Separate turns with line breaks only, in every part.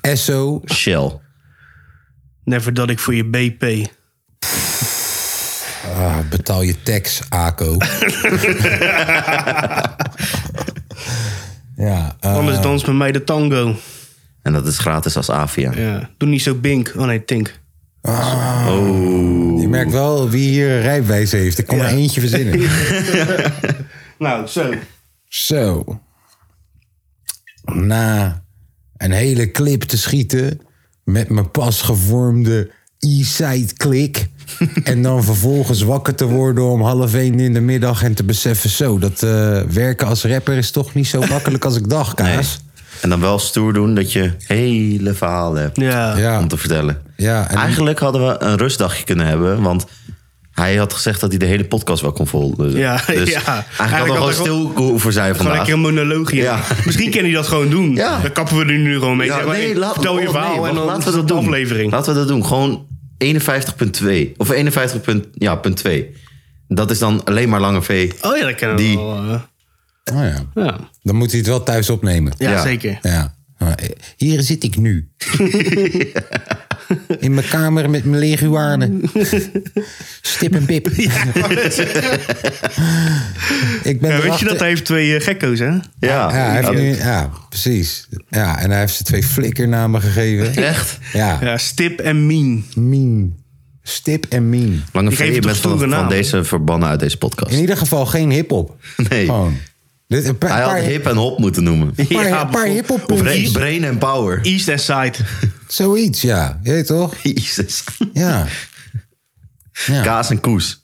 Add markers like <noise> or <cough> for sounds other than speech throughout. Esso.
Shell.
Never dat ik voor je BP.
Ah, betaal je tax, <laughs> Ako. ja. eh,
Anders dans met mij de tango.
En dat is gratis als Avia.
Ja. Doe niet zo bink. Oh nee, tink.
ik merk wel wie hier een rijbewijs heeft. Ik kon er eentje <laughs> verzinnen.
Nou, zo.
Zo. Na een hele clip te schieten met mijn pas gevormde e-side
<laughs>
klik. en dan vervolgens wakker te worden om half één in de middag en te beseffen: zo, dat eh, werken als rapper is toch niet zo makkelijk als ik dacht, Kaas.
En dan wel stoer doen dat je hele verhalen hebt
Ja.
Ja.
nou, om te vertellen.
Ja, en-
Eigenlijk hadden we een rustdagje kunnen hebben, want hij had gezegd dat hij de hele podcast wel kon
Ja,
volgen. dus
ja.
eigenlijk,
Eigenlijk
hadden we
had
gewoon
ik
stil hoeven zijn
Gewoon
vandaag.
lekker een monoloogje.
Ja.
Misschien kan hij dat gewoon doen.
Ja.
Dan kappen we er nu gewoon mee.
Ja,
Zeg maar, ik vertel je
oh,
verhaal
nee,
en dan
wacht,
laten we dat
doen.
aflevering.
Laten we dat doen. Gewoon 51.2. Of 51. punt- Ja, punt 2. Dat is dan alleen maar lange V.
Oh ja, dat kennen we
Die-
wel. eh.
Oh ja.
ja.
Dan moet hij het wel thuis opnemen.
Ja,
Ja.
zeker.
Ja. Nou, Hier zit ik nu. In mijn kamer met mijn leguanen. Stip en pip. ik ben
Ja,
er
Eh, weet je
achter-
dat hij heeft twee eh, gekko's, hè?
Ja,
Ja, hij heeft nu, ja, precies. Ja, en hij heeft ze twee flikkernamen gegeven.
echt.
Ja,
Ja, Stip en Mien.
mean. Stip en mean.
Lange
Die
V,
geven
je
toch
bent van,
stoere
van
namen?
deze verbannen uit deze podcast.
In ieder geval geen hip-hop.
Nee.
Gewoon. Dit, een paar,
Hij had
paar-
hip en hop moeten noemen.
paar,
Ja,
paar
bijvoorbeeld.
hip-hop
Of
puntjes.
brain- brain en power.
East en Side.
Zoiets, ja. Je weet toch?
Jezus.
Ja. Ja.
Kaas en Koes.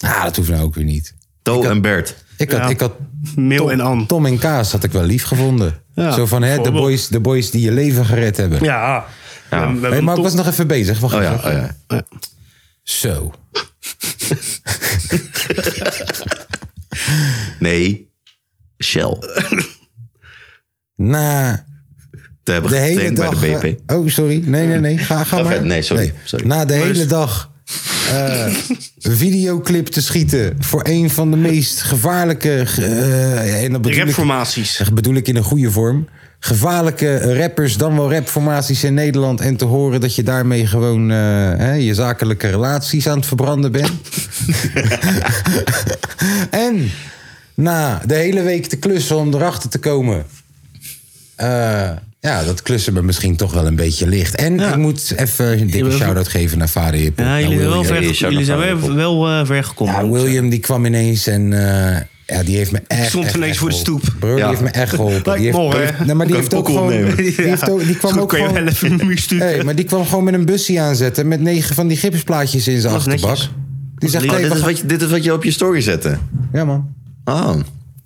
Ah, dat hoeft nou ook weer niet.
To en Bert.
Ik had,
Ja.
ik had
Mil en An.
Tom en Kaas had ik wel lief gevonden.
Ja,
Zo van hè, de,
bijvoorbeeld.
boys, de boys die je leven gered hebben.
Ja. We hebben- we
Hé,
hebben
maar ik
Tom-
was nog even bezig. Wacht
Oh ja,
even.
oh ja.
Zo.
Nee. Shell.
Na
Te hebben
de hele
getankt
dag.
bij de BP.
eh, oh, sorry. Nee, nee, nee. Ga, ga
Ga
maar.
verder. Nee, sorry. Sorry.
Na de hele dag
<laughs>
eh, een videoclip te schieten voor een van de meest gevaarlijke. ge- eh, en dat bedoel ik,
Rapformaties.
zeg, bedoel ik in een goede vorm. Gevaarlijke rappers, dan wel rapformaties in Nederland. En te horen dat je daarmee gewoon eh, hè, je zakelijke relaties aan het verbranden bent. <laughs> en na de hele week te klussen om erachter te komen. eh, ja, dat klussen me misschien toch wel een beetje licht. En ik moet even een dikke
bent-
shout-out geven naar Nou, vader Hip.
Ja, jullie zijn wel
William.
ver,
Jullie zijn
jullie zijn
wel
wel,
ver-
wel eh, ver gekomen.
Ja, William die kwam ineens en eh, ja, die heeft me echt.
stond
echt,
ineens
echt
voor de
geholpen.
stoep.
Bro, die
Ja.
heeft me
<laughs>
echt geholpen.
Lijkt
Die heeft,
me wel,
die heeft-
hè?
nee, maar die heeft ook
koekel
gewoon. Die,
opnemen.
heeft ook, die kwam
Goed,
ook
kan je
gewoon.
wel even een muur sturen.
Hey, maar die kwam gewoon met een busje aanzetten met negen van die gipsplaatjes in zijn
Dat was
achterbak.
netjes.
Die zegt:
Oh,
hey,
dit,
we
is
gaan-
wat je, dit is wat je op je story zette.
Ja, man.
Oh.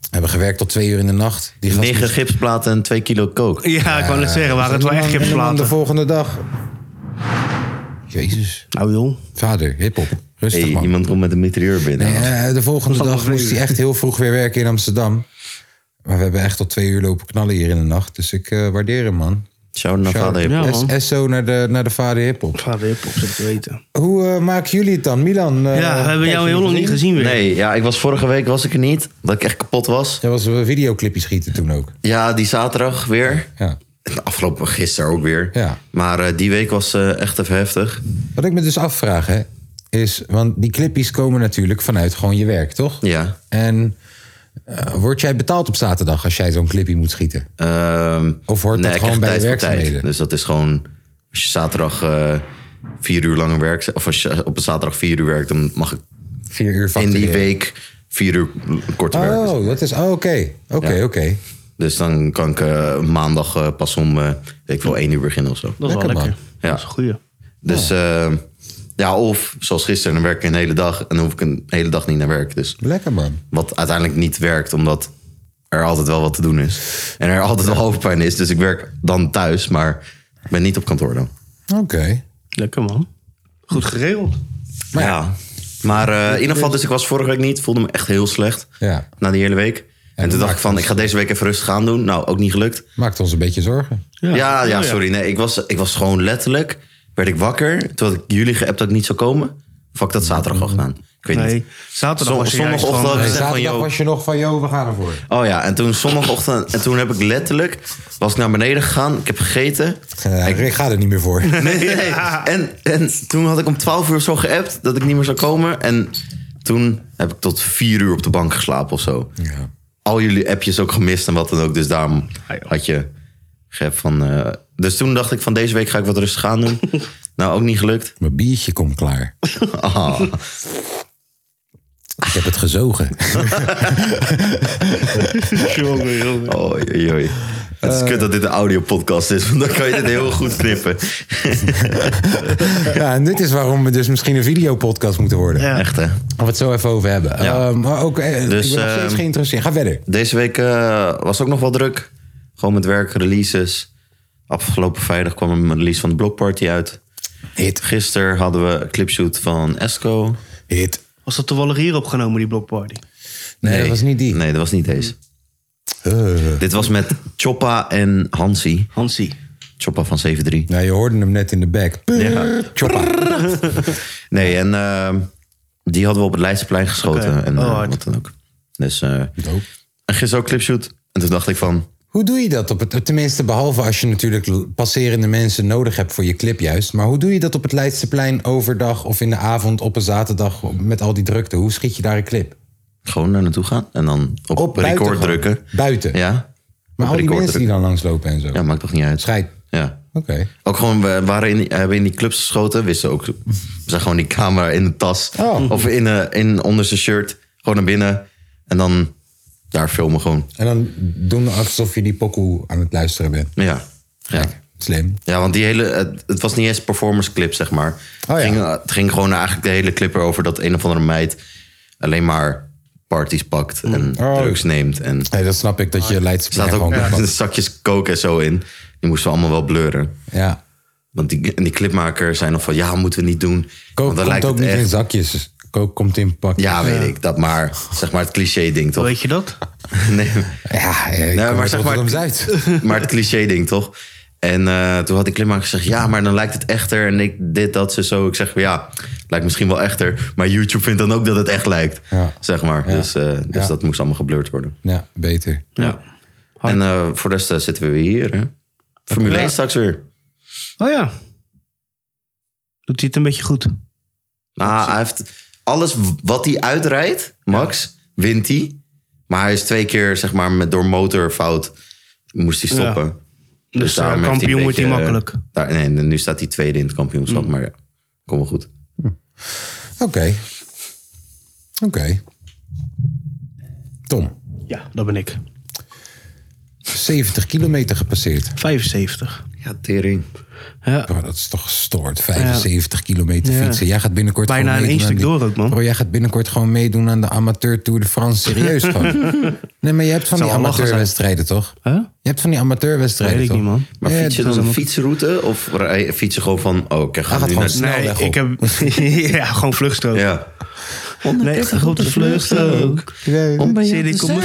We hebben gewerkt tot twee uur in de nacht. Die gast-
Negen gipsplaten en twee kilo kook.
Ja, ik wou net zeggen, waren het
En
wel
dan-
echt
en dan De
gipsplaten.
volgende dag. Jezus.
Nou joh.
Vader, hip-hop. Rustig,
Hey,
man.
iemand komt met een meteor binnen.
Eh, de volgende
Dat was
dag moest
leuk.
hij echt heel vroeg weer werken in Amsterdam. Maar we hebben echt tot twee uur lopen knallen hier in de nacht. Dus ik eh, waardeer hem, man.
Shout naar vader.
Ja, man.
SO naar de, naar de vader hiphop.
Vader hip op te weten.
Hoe eh, maken jullie het dan? Milan? eh,
Ja, we hebben jou heel lang niet gezien weer.
Nee, ja, ik was vorige week was ik er niet. Dat ik echt kapot was.
Jij was een videoclipje schieten toen ook.
Ja, die zaterdag weer.
Ja.
En <laughs> Afgelopen gisteren ook weer.
Ja.
Maar eh, die week was eh, echt even heftig.
Wat ik me dus afvraag, hè, is... Want die clipjes komen natuurlijk vanuit gewoon je werk, toch?
Ja.
En eh, word jij betaald op zaterdag als jij zo'n clipje moet schieten?
Ehm,
Of hoort dat
ik
gewoon
krijg tijd
bij de
voor tijd.
werkzaamheden?
Dus dat is gewoon, als je zaterdag eh, vier uur lang werkt, of als je op een zaterdag vier uur werkt, dan mag ik
Vier uur
in die
factureren.
week vier uur kort werken.
Oh, dat is... oh, Oké, oké,
Ja.
oké.
Dus dan kan ik eh, maandag eh, pas om, eh, weet ik wel, één uur beginnen of zo.
Dat is wel
Lekker,
lekker.
man.
Ja.
Dat is een goeie.
Dus eh, ja, of zoals gisteren, dan werk ik een hele dag en dan hoef ik een hele dag niet naar werk. Dus
Lekker, man.
wat uiteindelijk niet werkt, omdat er altijd wel wat te doen is. En er altijd wel hoofdpijn is, dus ik werk dan thuis, maar Ik ben niet op kantoor dan.
Oké.
Lekker man. Goed geregeld.
Maar ja. Maar eh, in ieder geval, dus ik was vorige week niet. Voelde me echt heel slecht.
Ja.
Na die hele week. En, toen dacht ik van, ik ga deze week even rustig aan doen. Nou, ook niet gelukt.
Maakt ons een beetje zorgen.
Ja, ja,
Oh,
sorry. Nee, ik was, ik was gewoon letterlijk... Werd ik wakker. Toen had ik jullie geappt dat ik niet zou komen. Of had ik dat zaterdag al gedaan? Ik weet
Nee,
niet.
zaterdag was je
Zondag-
juist
zondagochtend
van,
had ik
eh,
gezegd van,
Zaterdag
joh,
was je nog van, joh, we gaan
<laughs>
ervoor.
Oh ja, en toen zondagochtend... En toen heb ik letterlijk... Was ik naar beneden gegaan. Ik heb gegeten.
Ja, ik ga er niet meer
<laughs>
voor.
Nee, nee. En, en toen had ik om 12 uur zo geappt dat ik niet meer zou komen. En toen heb ik tot 4 uur op de bank geslapen of zo.
Ja.
Al jullie appjes ook gemist en wat dan ook. Dus daarom
Ah, joh.
had je geappt van. eh, dus toen dacht ik van deze week ga ik wat rustig aan doen. nou, ook niet gelukt.
Mijn biertje komt
<laughs>
klaar.
Ah.
Ik heb het gezogen. <laughs>
Jongen, jongen.
Oh, oei, oei. Het is kut dat dit een audiopodcast is, want dan kan je dit heel goed knippen.
Ja, en dit is waarom we dus misschien een videopodcast moeten worden.
Ja.
Echt hè.
Laten we het zo even over hebben.
Ja.
Ehm, maar ook, eh,
Dus,
ik ben nog steeds
ehm,
geïnteresseerd. Ga verder.
Deze week eh, was ook nog wel druk. Gewoon met werk, releases. Afgelopen vrijdag kwam een release van de Block Party uit.
Hit,
Gisteren hadden we een clipshoot van Esco.
hit.
Was dat toevallig hier opgenomen, die blockparty?
Nee, dat was niet die.
Nee, dat was niet deze.
Eh.
Dit was met Choppa en Hansi.
Hansie.
Choppa van 7-3.
Nou, je hoorde hem net in de back.
Ja.
Choppa.
Nee, en ehm, die hadden we op het Leidseplein geschoten.
Oké.
En eh,
Oh, hard.
wat dan ook. Dus, eh,
Dope.
en gisteren ook clipshoot. En toen dacht ik van...
Hoe doe je dat op het... Tenminste, behalve als je natuurlijk l- passerende mensen nodig hebt voor je clip juist. Maar hoe doe je dat op het Leidseplein overdag of in de avond op een zaterdag met al die drukte? Hoe schiet je daar een clip?
Gewoon naar naartoe gaan. En dan op,
buiten
record
gewoon.
drukken.
Buiten?
Ja.
Maar
Op
al die
record
mensen die dan langslopen en zo?
Ja, maakt toch niet uit.
Scheid.
Ja.
Oké.
Ook gewoon, we waren in, die- hebben in die clubs geschoten. Wisten ook, we zijn gewoon die camera in de tas.
Oh.
Of in, eh, in onder zijn shirt. Gewoon naar binnen. En dan daar filmen gewoon.
En dan doen alsof je die pokoe aan het luisteren bent.
Ja. Ja.
Slim.
ja, want die hele, het, het was niet eens een performance clip, zeg maar.
Oh, ja.
het, ging, eh, het ging gewoon eigenlijk de hele clip erover dat een of andere meid alleen maar parties pakt en
Oh.
drugs neemt. En er
Nee, dat snap ik, dat je Leidseplein
Ah, staat ook
gewoon...
<laughs>
Ja.
zakjes coke en zo in. Die moesten we allemaal wel blurren.
ja.
Want die, en die clipmaker zei nog van, ja, moeten we niet doen.
Kook
want dan
komt
lijkt
ook
het
niet
echt
in zakjes. Kook komt in pakjes.
Ja, weet ik. Dat maar, zeg maar het cliché ding toch?
Weet je dat?
<laughs> Nee,
Ja, eh,
Nee,
ik kom
maar
uit
zeg maar-
Rotterdam-Zuid.
maar het cliché ding toch? En eh, toen had ik klimmaak gezegd, ja, maar dan lijkt het echter. En ik dit, dat, ze zo. Ik zeg, ja, lijkt misschien wel echter. Maar YouTube vindt dan ook dat het echt lijkt.
Ja.
Zeg maar. Dus, eh, dus
Ja.
dat moest allemaal geblurred worden.
Ja, beter.
Ja. En eh, voor de rest eh, zitten we weer hier. Hè? Formule
Ja.
1 straks weer.
Oh ja. Doet hij het een beetje goed?
Nou, hij heeft alles wat hij uitrijdt, Max, wint hij. Maar hij is twee keer, zeg maar, met, door motorfout moest hij stoppen.
Ja.
Dus,
Dus, eh,
daarom heeft
kampioen
een
wordt hij
beetje, eh,
makkelijk.
daar- nee, nu staat hij tweede in het kampioenschap, maar ja, kom wel goed.
Oké. Oké. Tom,
Ja, dat ben ik.
70 kilometer gepasseerd.
75.
Ja, tering.
Ja.
Oh, dat is toch gestoord. 75 kilometer
Ja.
fietsen. Jij gaat binnenkort
Bijna in
gewoon
één
meedoen
stuk
aan die-
door ook, man.
Bro, jij gaat binnenkort gewoon meedoen aan de amateur Tour de France.
<laughs>
Serieus gewoon. Nee, maar je hebt van
Zou
die
wel lachen zijn.
amateurwedstrijden, toch?
Huh?
Je hebt van die amateurwedstrijden,
Weet ik
toch?
niet, man.
Maar
Ja,
fiets je
dat
dan
is
een
allemaal-
fietsenroute of rij- fiets je gewoon van, oh, oké, ga
gaat
nu
gewoon
naar...
snel.
Nee,
Snelweg
ik heb... <laughs> ja, gewoon vluchtstrook.
Ja.
Nee, op de vluchtstrook. Zit ik op mijn fiets?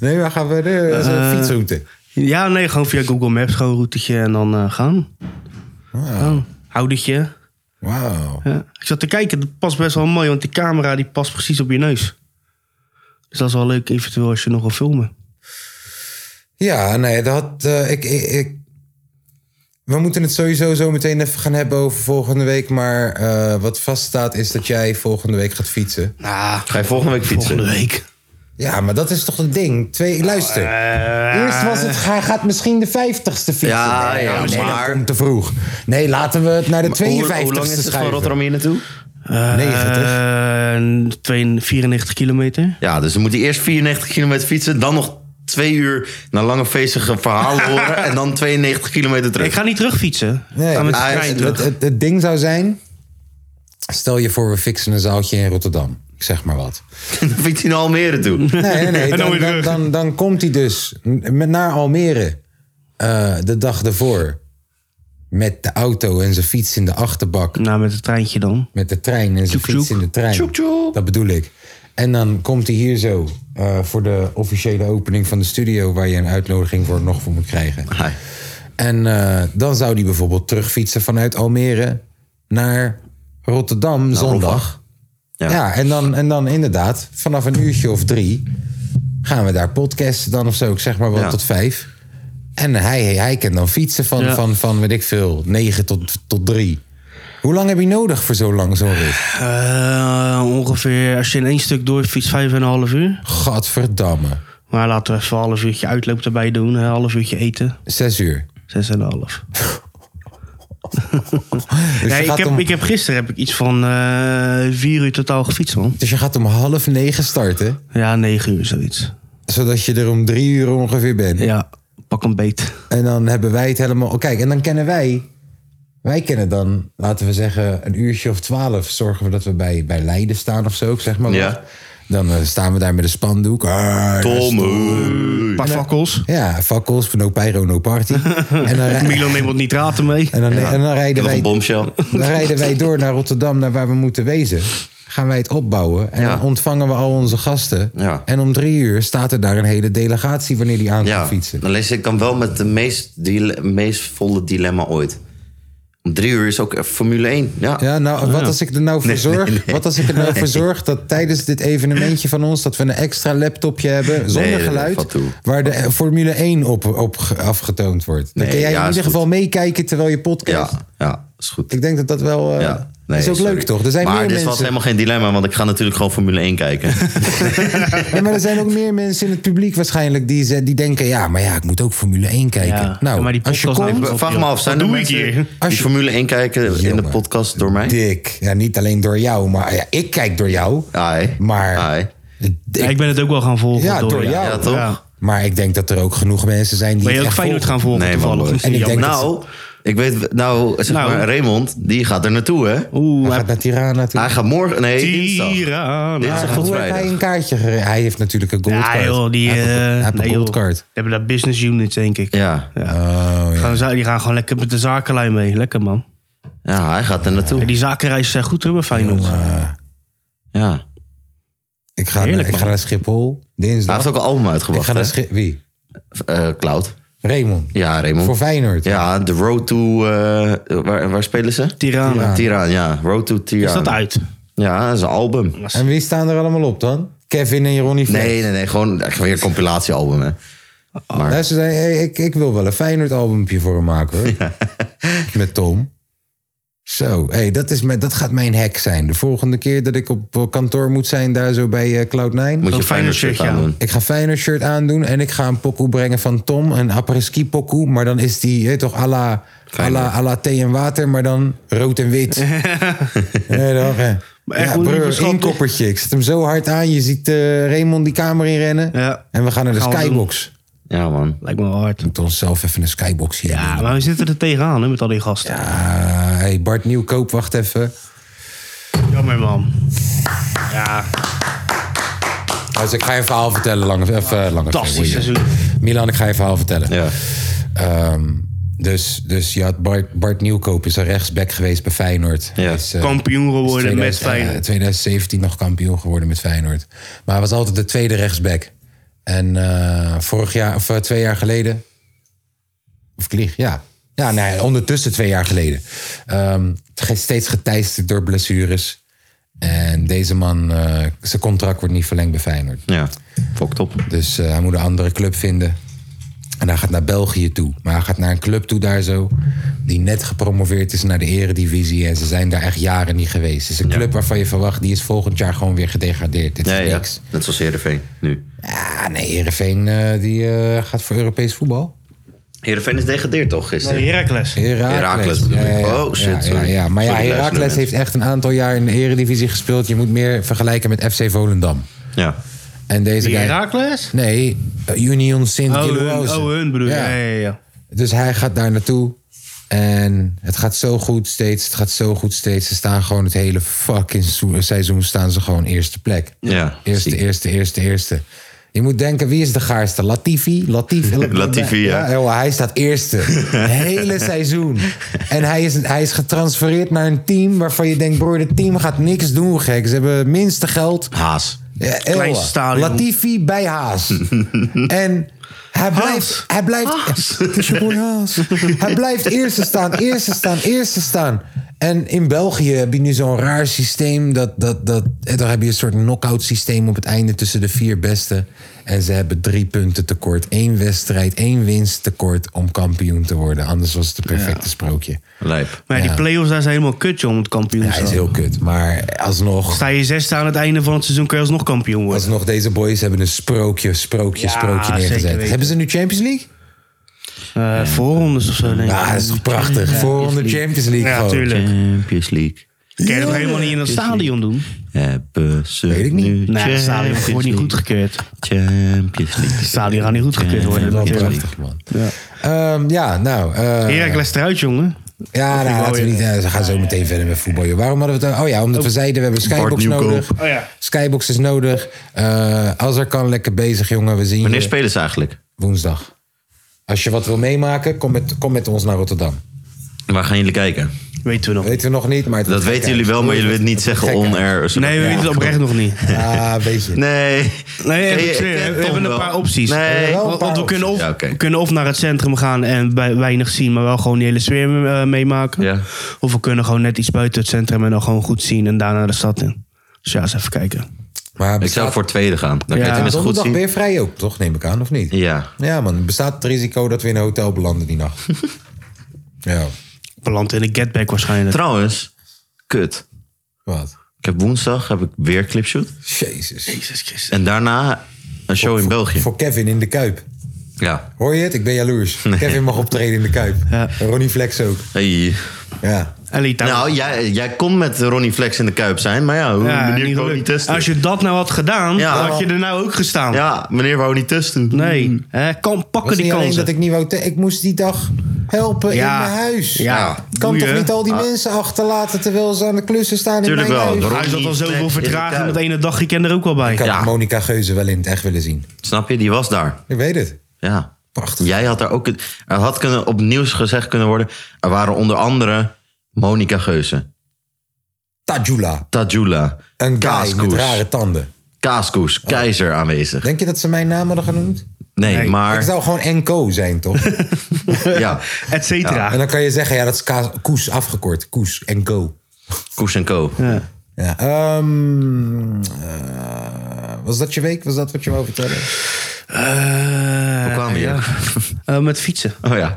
Nee, we gaan verder. Dat is een
Eh,
fietsroute.
Ja, nee, gewoon via Google Maps. Gewoon een routetje en dan eh, gaan. Gewoon. Houdertje.
Wauw.
Ah. Ja. Ik zat te kijken, dat past best wel mooi, want die camera die past precies op je neus. Dus dat is wel leuk, eventueel als je nog wil filmen.
Ja, nee, dat... eh, ik, ik, ik- we moeten het sowieso zo meteen even gaan hebben over volgende week. Maar eh, wat vaststaat is dat jij volgende week gaat fietsen.
Nou,
Ga je volgende week fietsen?
volgende week.
Ja, maar dat is toch het ding? Twee, luister.
Oh,
Eh,
Eerst was het, hij gaat misschien de vijftigste fietsen.
eh. Ja,
nee, oh,
ja,
nee, dat
maar-
komt te vroeg. Nee, laten we het naar de
Hoe- Hoe,
52ste
lang is het van
schuiven.
Rotterdam hier naartoe?
90.
Eh, twee- 94 kilometer.
Ja, dus dan moet hij eerst 94 kilometer fietsen, dan nog twee uur naar lange feestige verhalen
<laughs>
horen en dan 92 kilometer terug.
Ik ga niet terugfietsen.
Nee,
ik ga met de
maar hij-
trein
Het,
terug.
het, het ding zou zijn... Stel je voor, we fixen een zaaltje in Rotterdam. Ik zeg maar wat.
<laughs> Dan fietst hij naar Almere toe.
Nee, nee, nee.
En dan
Dan,
weer
dan,
terug.
dan, dan komt hij dus met naar Almere. eh, de dag ervoor met de auto en zijn fiets in de achterbak.
Nou, met het treintje dan.
Met de trein en zijn
Tjoek,
fiets
tjoek.
in de trein.
Tjoek, tjoek.
Dat bedoel ik. En dan komt hij hier zo eh, voor de officiële opening van de studio... waar je een uitnodiging voor nog voor moet krijgen.
Hi.
En eh, dan zou die bijvoorbeeld terugfietsen vanuit Almere naar Rotterdam zondag. Ja,
Ja.
en, dan, en dan inderdaad, vanaf een uurtje of drie gaan we daar podcasten dan of zo. Ik zeg maar wel
Ja.
tot vijf. En hij, hij kan dan fietsen van,
Ja.
van, van, weet ik veel, negen tot, tot drie. Hoe lang heb je nodig voor zo lang zo'n rit?
Eh, ongeveer, als je in één stuk doorfietst, vijf en een half uur.
Gadverdamme.
Maar laten we even een half uurtje uitloop erbij doen. Een half uurtje eten.
Zes uur.
Zes en een half.
Dus, je
Nee, ik,
gaat
heb,
om,
ik heb gisteren heb ik iets van eh, vier uur totaal gefietst, man.
dus je gaat om half negen starten,
Ja, negen uur zoiets.
zodat je er om drie uur ongeveer bent.
Ja, pak een beet.
En dan hebben wij het helemaal. Oh, Kijk, en dan kennen wij. Wij kennen dan, laten we zeggen, een uurtje of twaalf. Zorgen we dat we bij, bij Leiden staan of zo, ik zeg maar. wat.
Ja.
Dan eh, staan we daar met een spandoek. Ah,
Tom.
Pak fakkels.
Ja, fakkels, no pyro, no
<laughs>
party. en, dan, rij-
Milan neemt wat nitraten <laughs> mee.
en, dan, en dan, rijden
Nog
wij,
een
<laughs>
bombshell.
dan rijden wij door naar Rotterdam, naar waar we moeten wezen. Gaan wij het opbouwen en
Ja.
dan ontvangen we al onze gasten.
Ja.
En om drie uur staat er daar een hele delegatie wanneer die aan kan
Ja,
fietsen.
dan lees ik dan wel met de meest, dile- meest volle dilemma ooit. Om drie uur is ook eh, Formule 1. Ja,
Ja,
Oh,
nou, wat als ik er nou voor
Nee,
zorg?
nee, nee.
Wat als ik er nou voor zorg dat tijdens dit evenementje van ons... dat we een extra laptopje hebben zonder
Nee, dat
geluid...
valt toe.
waar de eh, Formule 1 op, op ge- afgetoond wordt. Dan
Nee,
kun jij
ja,
in
is
ieder
goed.
geval meekijken terwijl je podcast...
ja, ja is goed.
Ik denk dat dat wel... eh,
ja. nee,
is ook
sorry.
leuk, toch? Er zijn
maar
meer
dit was
mensen...
helemaal geen dilemma, want ik ga natuurlijk gewoon Formule 1
<laughs>
kijken. <laughs>
Ja, maar er zijn ook meer mensen in het publiek waarschijnlijk... die, ze- die denken, ja, maar ja, ik moet ook Formule 1 kijken.
Ja,
nou,
maar die
als je
podcast-
komt...
Top,
Vraag
joh.
me af, zijn
Wat
er
doe ik
mensen
hier?
Als je-
die Formule 1 kijken in de
Jongen.
podcast door mij?
Dik. Ja, niet alleen door jou, maar ja, ik kijk door jou.
Ai.
Maar...
Ai.
Ik-
Ja, ik ben het ook wel gaan volgen.
Ja, door jou.
Ja, toch?
Ja.
Maar ik denk dat er ook genoeg mensen zijn die
Ben je
het
ook
echt
Feyenoord
volgen.
gaan volgen
Nee, man,
toevallig?
nooit.
En ik denk dat-
Nou, ik weet, nou, zeg
Nou.
maar, Raymond, die gaat er naartoe, hè?
Oeh,
Hij
hij
gaat naar Tirana toe.
Hij gaat morgen, nee, dinsdag.
Tirana.
Dinsdag
Maar
tot
hoe heeft
vrijdag.
hij een kaartje gereden? Hij heeft natuurlijk een goldcard.
Ja, joh, die...
hij heeft een- hij
eh,
heeft een
nee, joh.
goldcard.
Die hebben daar business units, denk ik.
Ja.
Ja.
Oh, ja.
Gaan ze- die gaan gewoon lekker met de zakenlijn mee. Lekker, man.
ja, hij gaat er
Ja,
naartoe.
die zakenreizen zijn goed, hoor, bij Feyenoord.
Ja.
Ik ga,
Heerlijk,
ik ga
man.
naar Schiphol
Hij heeft
dinsdag.
ook een album
Ik
uitgebracht,
ga
hè?
naar Schi- Wie?
Eh, Cloud.
Raymond.
Ja, Raymond.
Voor Feyenoord.
Ja, de Road to... eh, waar, waar spelen ze?
Tirana.
Tiraan, ja. Road to Tiraan.
Is dat uit?
Ja, dat is een album.
En wie staan er allemaal op dan? Kevin en Ronnie Flex.
Nee, nee, nee. Gewoon echt weer een compilatiealbum, hè. Maar,
Luister, hey, ik, ik wil wel een Feyenoord albumpje voor hem
<laughs>
maken hoor. Met Tom. Zo, hey, dat, is mijn, dat gaat mijn hack zijn. De volgende keer dat ik op kantoor moet zijn, daar zo bij eh, Cloud9.
moet je
Zo'n
een fijne shirt
Feyenoord
aan doen.
Ik ga Feyenoord shirt aandoen en ik ga een pokoe brengen van Tom. Een apres-ski pokoe, maar dan is die je weet toch à la, à, la, à la thee en water, maar dan rood en
<laughs>
wit. nee, toch? hè?
Maar echt
Ja,
hoe
broer,
lieverschat-
één koppertje. Ik zet hem zo hard aan. Je ziet eh, Raymond die kamer inrennen.
Ja.
En we gaan naar de
Gaan we
skybox. We
Ja, man.
Lijkt me wel hard.
moeten onszelf even een skybox hier
Ja,
doen.
maar we zitten er tegenaan, hè, met al die gasten.
Ah, hey, Bart Nieuwkoop, wacht even.
Jammer, man. Ja,
Dus ik ga je een verhaal vertellen. eh, Lang, even, langer
fantastisch seizoen.
Milan, ik ga je een verhaal vertellen.
Ja.
Ehm, dus, dus je had Bart, Bart Nieuwkoop is een rechtsback geweest bij Feyenoord.
Ja.
Hij Is, eh,
Kampioen geworden met
2000
Feyenoord.
eh, 2017 nog kampioen geworden met Feyenoord. Maar hij was altijd de tweede rechtsback. En eh, vorig jaar, of eh, twee jaar geleden. Of ik lieg, ja. Ja, nee, ondertussen twee jaar geleden. Ehm, ge- steeds geteisterd door blessures. En deze man, eh, zijn contract wordt niet verlengd bij Feyenoord.
Ja. Fokt op.
Dus eh, hij moet een andere club vinden. En hij gaat naar België toe. Maar hij gaat naar een club toe daar zo. Die net gepromoveerd is naar de eredivisie. En ze zijn daar echt jaren niet geweest. Het is een club waarvan je verwacht... die is volgend jaar gewoon weer gedegradeerd. Dit is
Ja, ja.
niks.
Net zoals Heerenveen nu.
Ja, nee, Heerenveen eh, die, eh, gaat voor Europees voetbal.
Heerenveen is degradeerd toch gisteren?
Heracles.
Heracles.
Heracles bedoel ik. Oh, shit,
Ja, ja,
sorry.
ja. Maar ja,
Sorry, luister,
Heracles
mensen.
heeft echt een aantal jaar in de eredivisie gespeeld. Je moet meer vergelijken met FC Volendam.
Ja.
En deze
Die
guy...
Heracles?
Nee, eh, Union
Oh, hun,
Sint-Gilloise.
oh, hun bedoel je. Ja, ja, ja.
Dus hij gaat daar naartoe. En het gaat zo goed steeds. Het gaat zo goed steeds. Ze staan gewoon het hele fucking seizoen staan ze gewoon eerste plek.
Ja.
Eerste,
Ziek.
eerste, eerste, eerste. Je moet denken, wie is de gaarste? Latifi?
<laughs>
Latifi,
Latifi, ja.
joh, hij staat
<laughs>
eerste. Het hele seizoen. En hij is, hij is getransfereerd naar een team waarvan je denkt... broer, dit team gaat niks doen, gek. Ze hebben het minste geld.
Haas.
Ja,
Kleinste
eeuwen.
stadion.
Latifi bij Haas. en hij blijft... Hij blijft Het is je boy Haas. hij blijft eerste staan, eerste staan, eerste staan. En in België heb je nu zo'n raar systeem. Dat, dat, dat, en dan heb je een soort knock-out systeem op het einde tussen de vier beste. En ze hebben drie punten tekort. één wedstrijd, één winst tekort om kampioen te worden. Anders was het het perfecte sprookje.
Lijp.
Maar ja, die
Ja.
play-offs, daar zijn helemaal kut, joh, om het kampioen te
Hij is
zijn.
heel kut, maar alsnog...
Sta je zesde aan het einde van het seizoen, kun je alsnog kampioen worden.
Alsnog, deze boys hebben een sprookje, sprookje,
Ja,
sprookje
zeker
neergezet.
weten.
Hebben ze nu Champions League?
Eh, voorrondes of zo, denk ik.
Ja, dat is toch prachtig. Voorronde Champions League
Ja,
gewoon.
tuurlijk.
Champions League.
Kun je dat helemaal niet in dat stadion doen?
Hebben ze
Weet ik niet.
nu
Nee, het stadion
Champions
wordt niet
League.
goedgekeurd.
Champions League.
Het stadion gaat niet goedgekeurd worden.
Dat is wel
Ja.
prachtig, man. Ja, ja nou. eh,
Heracles eruit, jongen.
ja, nou, laten we niet. eh, ze gaan zo meteen verder met voetbal. joh. Waarom hadden we het? Oh ja, omdat we zeiden we hebben Skybox
Nieuwkoop.
nodig.
Oh ja.
Skybox is nodig. Eh als er kan, lekker bezig, jongen. We zien
Wanneer
je
spelen ze eigenlijk?
woensdag. Als je wat wil meemaken, kom met, kom met ons naar Rotterdam.
Waar gaan jullie kijken?
Weten we nog.
Weten we nog niet, maar... het
Dat
wordt
weten
gek,
jullie
hè?
wel, maar jullie willen het niet zeggen
gek, hè?
on-air. zodat-
Nee, we weten het oprecht nog niet.
Ja, weet je.
Nee.
Nee,
Ken je-
ik zweer,
ken
we
Tom
hebben een
wel.
paar opties.
Nee.
Wel een
Want,
paar
want we, kunnen of,
opties. Oh, Ja, oké.
we kunnen of naar het centrum gaan en bij, weinig zien, maar wel gewoon die hele sfeer eh, meemaken.
Ja.
Of we kunnen gewoon net iets buiten het centrum en dan gewoon goed zien en daarna de stad in. Dus ja, eens even kijken.
Maar
Ik zou
bestaat-
voor tweede gaan. Dan kan je het tenminste goed
Donderdag
zien.
ben je vrij ook, toch? Neem ik aan, of niet?
Ja.
Ja, man. Bestaat het risico dat we in een hotel belanden die
<laughs>
nacht? ja,
Beland in de getback waarschijnlijk.
Trouwens, kut.
wat?
Ik heb woensdag heb ik weer clipshoot.
Jezus.
Jezus Christus.
En daarna een show in België.
Voor Kevin in de Kuip.
Ja.
Hoor je het? Ik ben
<laughs>
jaloers. Kevin mag optreden in de Kuip.
Ja.
Ronnie Flex ook.
Hey.
Ja.
Elite.
Nou, jij, jij kon met Ronnie Flex in de Kuip zijn, maar ja, hoe,
Ja,
meneer
niet
wou
gelukt.
niet testen.
Als je dat nou had gedaan,
Ja.
dan had je er nou ook gestaan.
Ja, meneer wou niet testen. Hmm.
Nee, hè, kan, pakken
Was
die
niet alleen
kansen.
dat ik niet wou... te- Ik moest die dag helpen
Ja.
in mijn huis.
Ja. Ah.
Ik kan
Doe
toch
je?
niet al die mensen achterlaten terwijl ze aan de klussen staan
Tuurlijk
in mijn
wel.
huis?
Daarom-
Hij zat al zoveel
Flex in de
vertraging
kuip.
dat ene dagje ken er ook wel bij.
Ik had
Ja.
Monica Geuze wel in het echt willen zien.
Snap je? Die was daar.
Ik weet het.
Ja.
Prachtig.
Jij had daar ook... het- Er had kunnen, op nieuws gezegd kunnen worden... Er waren onder andere Monica Geuze,
Tajula.
Tajula,
Een guy met
Kaaskoes,
rare tanden.
Kaaskoes, Keizer aanwezig.
Denk je dat ze mijn naam hadden genoemd?
Nee,
Ik
maar...
zou gewoon Enco zijn, toch?
<laughs> Ja,
Et cetera.
en dan kan je zeggen, ja, dat is Kaas- Koes afgekort. Koes, Enco.
Koes en Co.
Ja.
Ja, ehm, eh, was dat je week? Was dat wat je wou
<laughs>
vertellen?
Hoe kwamen we hier?
Eh, met fietsen.
<laughs> Oh ja.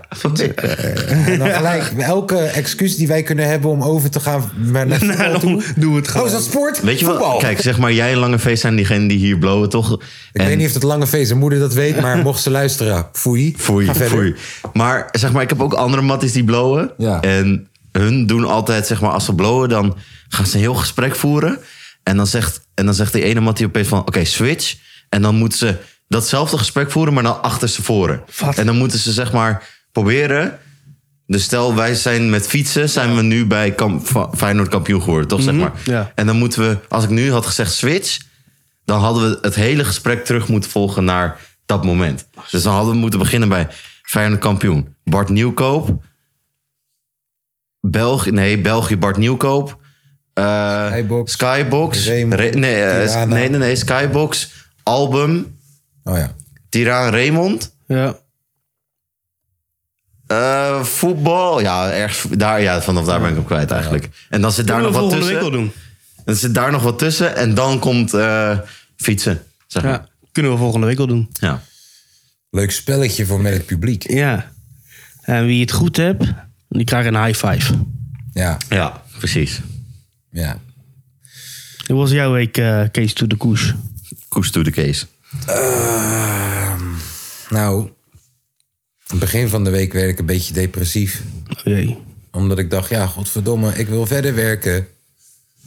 En dan gelijk, elke excuus die wij kunnen hebben om over te gaan
<laughs>
naar naar voetbal
Nou,
dan
toe.
doen we het
Oh,
gewoon.
is dat sport?
Weet je
Voetbal.
wat? Kijk, zeg maar, jij en Lange Feest zijn diegenen die hier blowen, toch?
Ik weet niet of het lange feest zijn moeder dat weet,
<laughs>
maar mocht ze luisteren, foei.
Foei,
Ga verder.
foei. Maar zeg maar, ik heb ook andere matties die blowen.
Ja.
En hun doen altijd, zeg maar, als ze blowen, dan gaan ze een heel gesprek voeren. En dan zegt, en dan zegt die ene mattie opeens van, oké, switch. En dan moeten ze datzelfde gesprek voeren, maar dan achter ze voren.
Wat?
En dan moeten ze, zeg maar, proberen... Dus stel, wij zijn met fietsen, zijn we nu bij kamp, Fa- Feyenoord kampioen geworden, toch? zeg maar.
ja.
En dan moeten we, als ik nu had gezegd switch, dan hadden we het hele gesprek terug moeten volgen naar dat moment. Dus dan hadden we moeten beginnen bij Feyenoord kampioen. Bart Nieuwkoop. België, nee, België, Bart Nieuwkoop. eh,
Skybox.
Skybox.
Remo.
Re- nee, eh,
Tirana.
nee, nee, nee, Skybox. Album.
Oh ja.
Tiraan Raymond.
Ja.
eh, voetbal. Ja, ergens daar, ja, vanaf daar ben ik hem kwijt eigenlijk. En dan zit daar
Kunnen
nog
we
wat
volgende week
tussen.
al doen.
Dan zit daar nog wat tussen. En dan komt eh, fietsen. Zeg maar.
Ja. Kunnen we volgende week al doen.
ja.
Leuk spelletje voor met het publiek.
Ja. En wie het goed hebt, die krijgt een high five.
Ja,
Ja, precies.
ja.
Hoe was jouw week, eh Kees to the Koes?
Koes to the case.
Ehm, Nou, begin van de week werd ik een beetje depressief.
Oh jee.
Omdat ik dacht, ja, godverdomme, ik wil verder werken.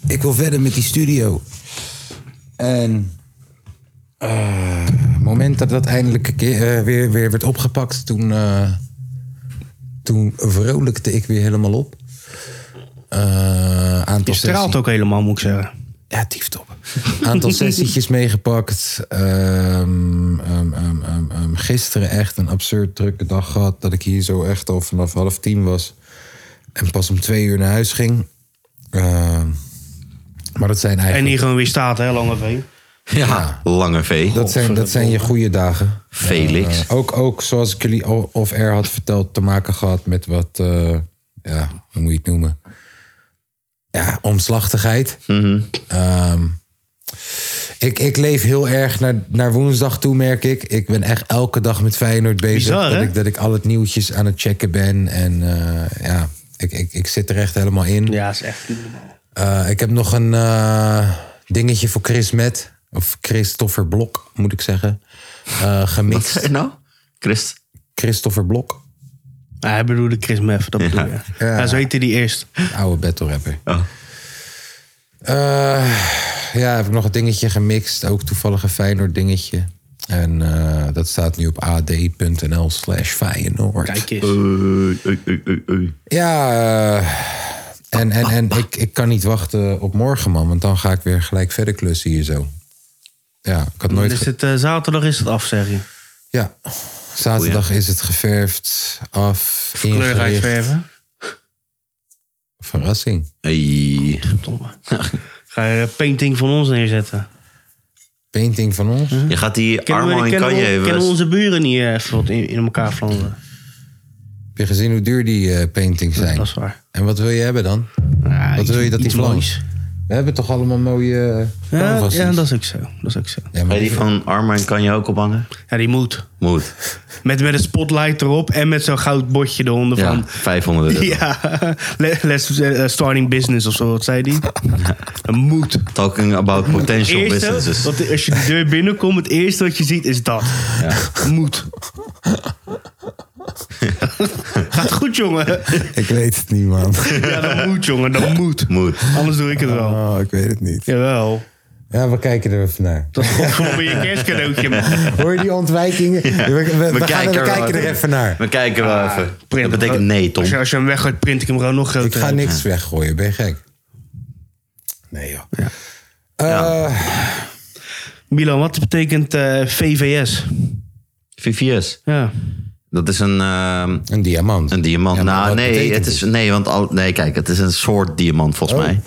Ik wil verder met die studio. En eh, het moment dat dat eindelijk een keer, eh, weer, weer werd opgepakt, toen, eh, toen vrolijkte ik weer helemaal op. Eh aantal
Je straalt
sessies-
ook helemaal, moet ik zeggen.
Ja, tief top. Aantal sessietjes meegepakt. Ehm gisteren echt een absurd drukke dag gehad. Dat ik hier zo echt al vanaf half tien was. En pas om twee uur naar huis ging. Ehm, maar dat zijn
En
eigenlijk...
hier gewoon weer staat, hè, Lange V.
Ja, lange V.
Dat zijn, dat zijn je goede dagen.
Felix.
Eh, ook, ook, zoals ik jullie al off-air had verteld, te maken gehad met wat, eh, ja, hoe moet je het noemen? Ja, omslachtigheid.
Mhm.
Ehm, ik, ik leef heel erg naar, naar woensdag toe, merk ik. Ik ben echt elke dag met Feyenoord bezig.
Bizar,
dat,
hè?
ik, dat ik al het nieuwtjes aan het checken ben. En eh, ja, ik, ik, ik zit er echt helemaal in.
Ja, is echt niet normaal.
Eh, ik heb nog een eh, dingetje voor Chris Met. Of Christopher Blok, moet ik zeggen. Eh
Wat zei
gemixt.
je nou? Christ.
Christopher Blok,
Ah, hij bedoelde Chris Meff, dat bedoel je. Ja. zo heette die eerst.
oude battle rapper.
Oh.
Eh, ja, heb ik nog een dingetje gemixt. Ook toevallig een Feyenoord dingetje. En eh, dat staat nu op ad.nl slash Feyenoord.
Kijk eens.
Oei, oei, oei, oei, oei.
Ja, eh, en, en, en ik, ik kan niet wachten op morgen, man. Want dan ga ik weer gelijk verder klussen hier zo. Ja, ik had nooit...
Dus
ge-
het, eh, zaterdag is het af, zeg je.
Ja, zaterdag is het geverfd, af,
Kleur
ingericht.
uitverven.
Verrassing.
Hey.
Verdomme. Ga je een painting van ons neerzetten?
Painting van ons.
Mhm.
Je gaat die
Kennen,
Armo
we,
en
kennen,
Kanye
we,
even...
kennen we onze buren niet eh, even wat in, in elkaar vlammen?
Heb je gezien hoe duur die eh, paintings zijn?
Dat is waar.
En wat wil je hebben dan?
Ja,
Wat
iets-
wil je dat die
iets
vlam?
moois.
We hebben toch allemaal mooie
Ja,
eh, canvases?
ja, dat is ook zo. Dat is ook zo.
Ja,
Ga
maar
je die van Armo en Kanye ook ophangen?
Ja, die moet.
Moet.
Met, met een spotlight erop en met zo'n goud botje eronder
Ja,
van... <laughs>
500 euro.
Ja, le- let's eh, starting business of zo, wat zei die? Een moet.
Talking about potential
Eerste,
businesses.
wat, als je de deur binnenkomt, het eerste wat je ziet is dat. Moet. Gaat goed, jongen.
Ik weet het niet,
<laughs>
man.
Ja, dat moet, jongen. Dat moet.
Moet.
Anders doe ik het wel.
Oh, ik weet het niet.
Jawel.
Ja, we kijken er even naar.
Dat is gewoon weer je kerstcadeautje, man.
Hoor je die ontwijkingen? We, we- we gaan er, we
wel
kijken er even naar.
We kijken wel even.
Print.
Dat betekent nee, Tom.
Ah, Als je, als je hem weggooit, print ik hem gewoon nog
Ik
groter.
ga niks weggooien, ben je gek? Nee, joh. Eh,
Milan, wat betekent eh, VVS?
VVS.
Ja.
Dat is een, ehm,
een diamant.
een diamant.
Ja, maar
nou,
wat
nee,
betekent
het is, nee, want al, nee, kijk, het is een soort diamant volgens
Oh.
mij.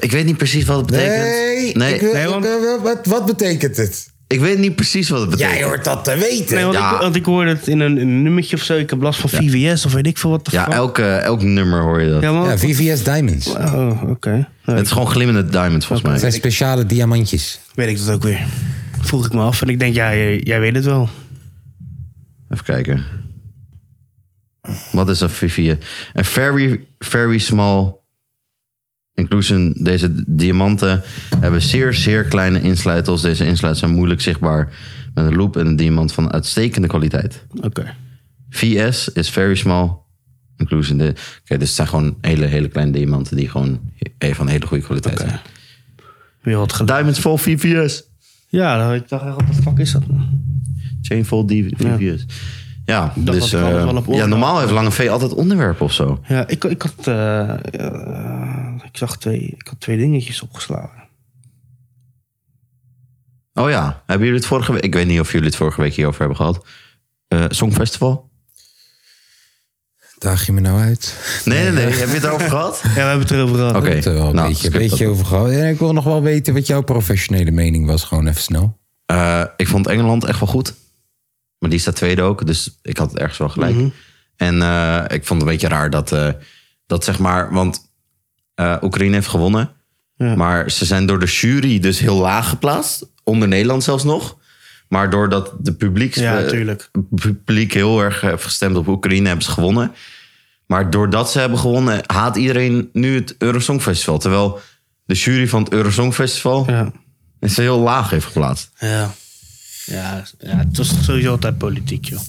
Ik weet niet precies wat het betekent.
Nee, ik wil-
nee,
ik
want-
wil- wat, wat betekent het?
ik weet niet precies wat het betekent.
Jij hoort dat te weten.
Nee, want,
Ja.
ik, want ik hoorde het in een, een nummertje of zo. Ik heb last van VVS of weet ik veel wat. de
Ja,
fuck.
elke, elk nummer hoor je dat.
Ja, maar-
Ja, VVS Diamonds.
Oh, oké. Nou,
Het is gewoon glimmende diamond volgens
Het
mij.
zijn speciale diamantjes.
weet ik dat ook weer. Vroeg ik me af en ik denk, ja, jij, jij weet het wel.
Even kijken. Wat is een VVS? Een very, very small inclusion. Deze diamanten hebben zeer, zeer kleine insluitels. Deze insluitels zijn moeilijk zichtbaar met een loop en een diamant van uitstekende kwaliteit.
Oké.
VS is very small inclusion. De- Oké, dus het zijn gewoon hele, hele kleine diamanten die gewoon he- van hele goede kwaliteit zijn.
Weer wat gedaan.
Diamonds vol VVS.
Ja, dan ik dacht echt, wat de fuck is dat nou?
Chain vol DVD's. Ja, ja,
dacht
dus,
dat ik alles
eh,
wel op orde
ja normaal
had.
heeft Lange V altijd onderwerpen of zo.
Ja, ik, ik had... eh, eh, ik zag twee... Ik had twee dingetjes opgeslagen.
Oh ja, hebben jullie het vorige week... Ik weet niet of jullie het vorige week hierover hebben gehad. Eh, Songfestival?
Daag je me nou uit?
Nee, nee, nee. Heb je het erover
<laughs>
gehad?
Ja, we hebben het erover gehad.
Oké.
Ik heb er wel een
nou,
beetje,
skip dat.
beetje over gehad. En ik wil nog wel weten wat jouw professionele mening was. Gewoon even snel.
Eh, ik vond Engeland echt wel goed. Maar die staat tweede ook, dus ik had het ergens wel gelijk.
Mhm.
En eh, ik vond het een beetje raar dat, eh, dat zeg maar... Want eh, Oekraïne heeft gewonnen. Maar ze zijn door de jury dus heel laag geplaatst. Onder Nederland zelfs nog. Maar doordat de publiek,
Ja,
eh,
tuurlijk.
publiek heel erg heeft gestemd op Oekraïne, hebben ze gewonnen. Maar doordat ze hebben gewonnen, haat iedereen nu het Eurosongfestival. Terwijl de jury van het Eurosongfestival
Ja.
ze heel laag heeft geplaatst.
Ja. Ja, ja, het was toch sowieso altijd politiek, joh.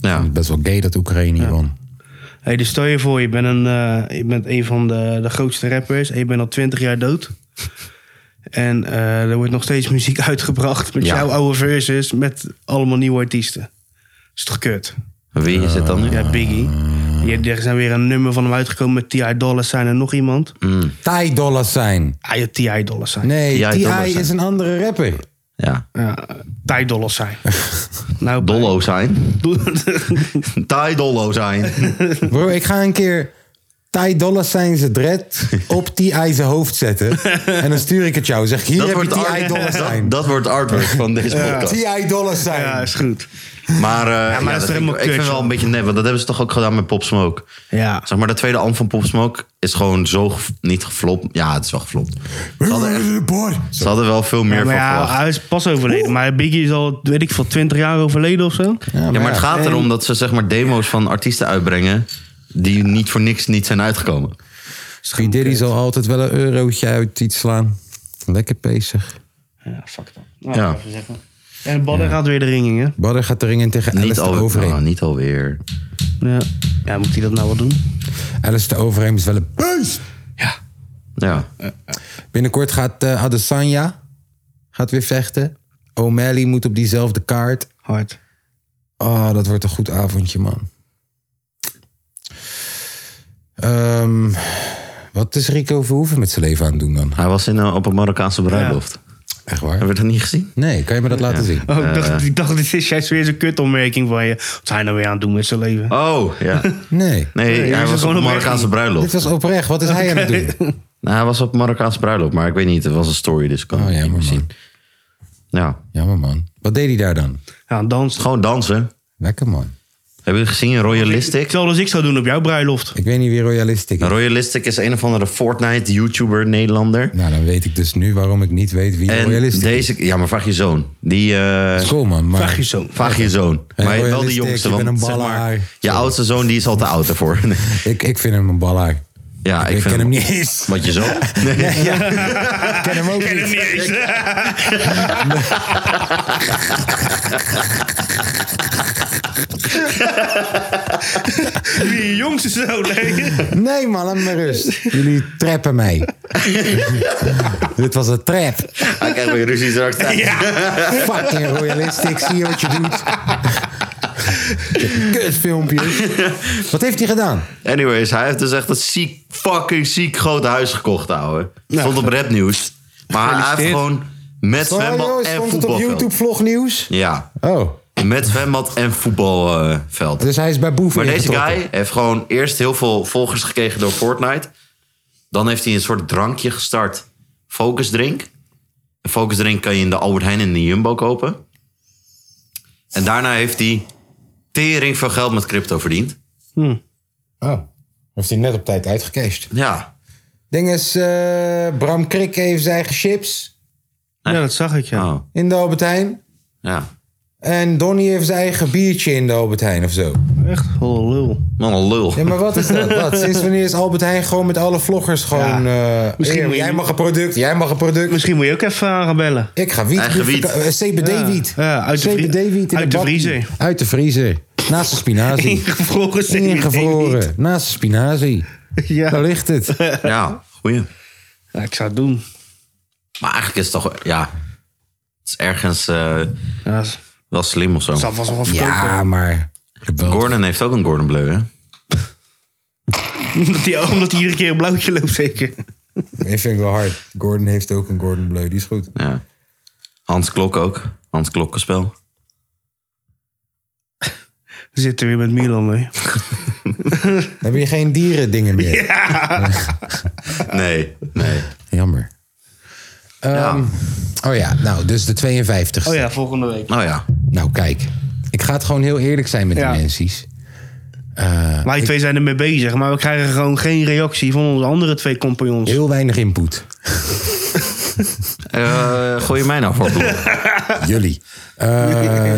Ja.
Best wel gay dat Oekraïne hier won.
Hey, dus stel je voor, je bent een, eh, je bent een van de, de grootste rappers en je bent al 20 jaar dood. En eh, er wordt nog steeds muziek <laughs> uitgebracht met
Ja.
jouw oude verses, met allemaal nieuwe artiesten. Is toch kut?
Wie is het dan nu?
Ja, Biggie. Je, hebt- er zijn weer een nummer van hem uitgekomen met T.I. Dollars zijn en nog iemand.
Thai dollars zijn.
Ah ja, T.I. Dollars zijn.
Nee,
Thai
T.I.
dollars zijn.
is een andere rapper.
Ja.
Ja, T.I. Dollars zijn. Nou, bij- <laughs>
Dollo zijn. Thai dollo zijn.
Bro, ik ga een keer Thai dollars zijn
<laughs>
ze dread op die ijzer hoofd zetten. En dan stuur ik het jou. Zeg, hier heb je
wordt
TI
art- <laughs>
dollars
dat,
zijn.
dat wordt artwork van deze podcast.
TI dollars
ja,
zijn.
is goed.
Maar, eh, ja,
maar dat is toch
dat vind ik,
helemaal
ik vind
kut,
het wel
joh.
een beetje nep, want dat hebben ze toch ook gedaan met Pop Smoke.
Ja.
Zeg maar, de tweede album van Pop Smoke is gewoon zo gef- niet geflopt. Ja, het is wel geflopt. Ze hadden, echt- ze hadden wel veel meer
maar
van
ja,
verwacht.
hij is pas overleden. Maar Biggie is al, weet ik veel, 20 jaar overleden of zo.
Ja, maar het gaat erom dat ze zeg maar demo's van artiesten uitbrengen die niet voor niks niet zijn uitgekomen.
Misschien Diddy zal altijd wel een eurotje uit iets slaan. Lekker bezig.
Ja, fuck Nou, dat.
Ja.
ja. En Badden gaat weer de ringing, hè?
Badder gaat erin tegen
Niet,
Alice de
al, nou,
Overeem.
niet alweer.
Ja. ja, moet hij dat nou wel doen?
Alice de Overeem is wel een beest.
Ja.
Binnenkort gaat eh, Adesanya gaat weer vechten. O'Malley moet op diezelfde kaart.
Hard.
Ah, dat wordt een goed avondje, man. Ehm, wat is Rico Verhoeven met zijn leven aan het doen dan?
Hij was in, eh, op een Marokkaanse bruiloft.
Echt
Hebben
waar?
we dat niet gezien?
Nee, kan je me dat laten zien?
Oh, ik, dacht, ik dacht, dit is juist weer zo'n kutopmerking van je. Wat zijn nou weer aan het doen met zijn leven?
Oh, ja.
Nee.
Nee,
hij
hij
is
was op
gewoon
een
op
Marokkaanse
weg.
bruiloft.
Dit was oprecht. Wat is hij aan het
<laughs>
doen?
Nou, hij was op Marokkaanse bruiloft, maar ik weet niet. Het was een story, dus ik kan
Oh,
het niet
jammer,
meer zien. Ja,
Jammer, man. Wat deed hij daar dan?
Ja, dansen.
gewoon dansen.
Lekker, man.
Hebben jullie gezien Royalistic?
Hetzelfde als ik zou doen op jouw bruiloft.
Ik weet niet wie royalistiek
Nou,
is.
Royalistic is een of andere Fortnite-YouTuber, Nederlander.
Nou, dan weet ik dus nu waarom ik niet weet wie
En
royalistiek is.
deze... Ja, maar vraag je zoon. Die... eh,
School, man. Maar...
Vraag je <laughs> zo.
Vraag je zoon.
Hey,
maar wel de
Royalistic,
jongste.
je
Want,
bent een
zeg maar,
ballaar.
je oudste zoon die is al te oud ervoor. <laughs> Nee.
Ik, ik vind hem een ballaar.
ja, ik,
Ik,
vind
ken hem
<laughs>
niet eens.
Wat je zoon?
<laughs>
Nee.
Ik ken hem ook niet.
Wie jongste zo, nee.
Nee, man, laat me rust. Jullie trappen mij. <laughs> Dit was een trap.
Hij krijgt weer ruzie straks.
<laughs>
thuis.
Fucking royalistiek, zie je wat je doet? <laughs> Kutfilmpje. Wat heeft hij gedaan?
Anyways, hij heeft dus echt een ziek, fucking ziek groot huis gekocht, ouwe. Stond op rapnieuws. Maar hij heeft
Gefeliciteerd.
gewoon met
Oh,
zwembad
joh,
en
stond het op YouTube
voetbalveld.
vlognieuws?
Ja,
Oh,
met zwembad en voetbalveld.
dus hij is bij Boef
Maar deze
ingetrokken.
guy heeft gewoon eerst heel veel volgers gekregen door Fortnite. Dan heeft hij een soort drankje gestart. Focusdrink. Een focusdrink kan je in de Albert Heijn en de Jumbo kopen. En daarna heeft hij tering van geld met crypto verdiend.
Oh, heeft hij net op tijd uitgecashed.
Ja.
Ding is, eh, Bram Krik heeft zijn eigen chips
Ja, dat zag ik, ja.
Oh,
in de Albert Heijn.
ja.
En Donnie heeft zijn eigen biertje in de Albert Heijn of zo.
Echt, oh, lul.
Man, een lul.
Ja, maar wat is dat? Wat? Sinds wanneer is Albert Heijn gewoon met alle vloggers gewoon... eh,
Misschien
hey,
moet je-
jij mag een product, jij mag een product.
Misschien moet je ook even aan gaan bellen.
Ik ga wiet.
Eigen wiet.
eh, CBD-wiet.
Ja, uit de vrie-
CBD-wiet in
uit de
bakkie.
vriezer.
Uit de vriezer. Naast de
<laughs>
spinazie.
Ingevroren CBD.
Ingevroren. Naast de spinazie.
Ja.
Daar ligt het.
Ja, goeie.
Ja, Nou, ik zou het doen.
Maar eigenlijk is het toch... Ja, het is ergens eh,
Ja, dat
wel slim of zo.
zal vast wel wat verkopen.
Ja, maar... Wel-
Gordon heeft ook een Gordon Bleu, hè?
<laughs> Omdat hij, omdat hij iedere keer een blauwtje loopt, zeker.
Ik vind het wel hard. Gordon heeft ook een Gordon Bleu. Die is goed.
Ja. Hans Klok ook. Hans Klokkenspel.
We zitten weer met Milan mee.
Heb je geen dierendingen meer?
Nee, nee.
Jammer. Ehm,
Ja.
Oh ja, nou, dus de 52
Oh ja, volgende week.
Nou ja.
Nou, kijk. Ik ga het gewoon heel eerlijk zijn met
Ja.
de mensies.
Wij twee zijn ermee bezig, maar we krijgen gewoon geen reactie van onze andere twee compagnons.
Heel weinig input.
Eh, gooi je mij nou voor bloed?
<laughs> Jullie. Eh,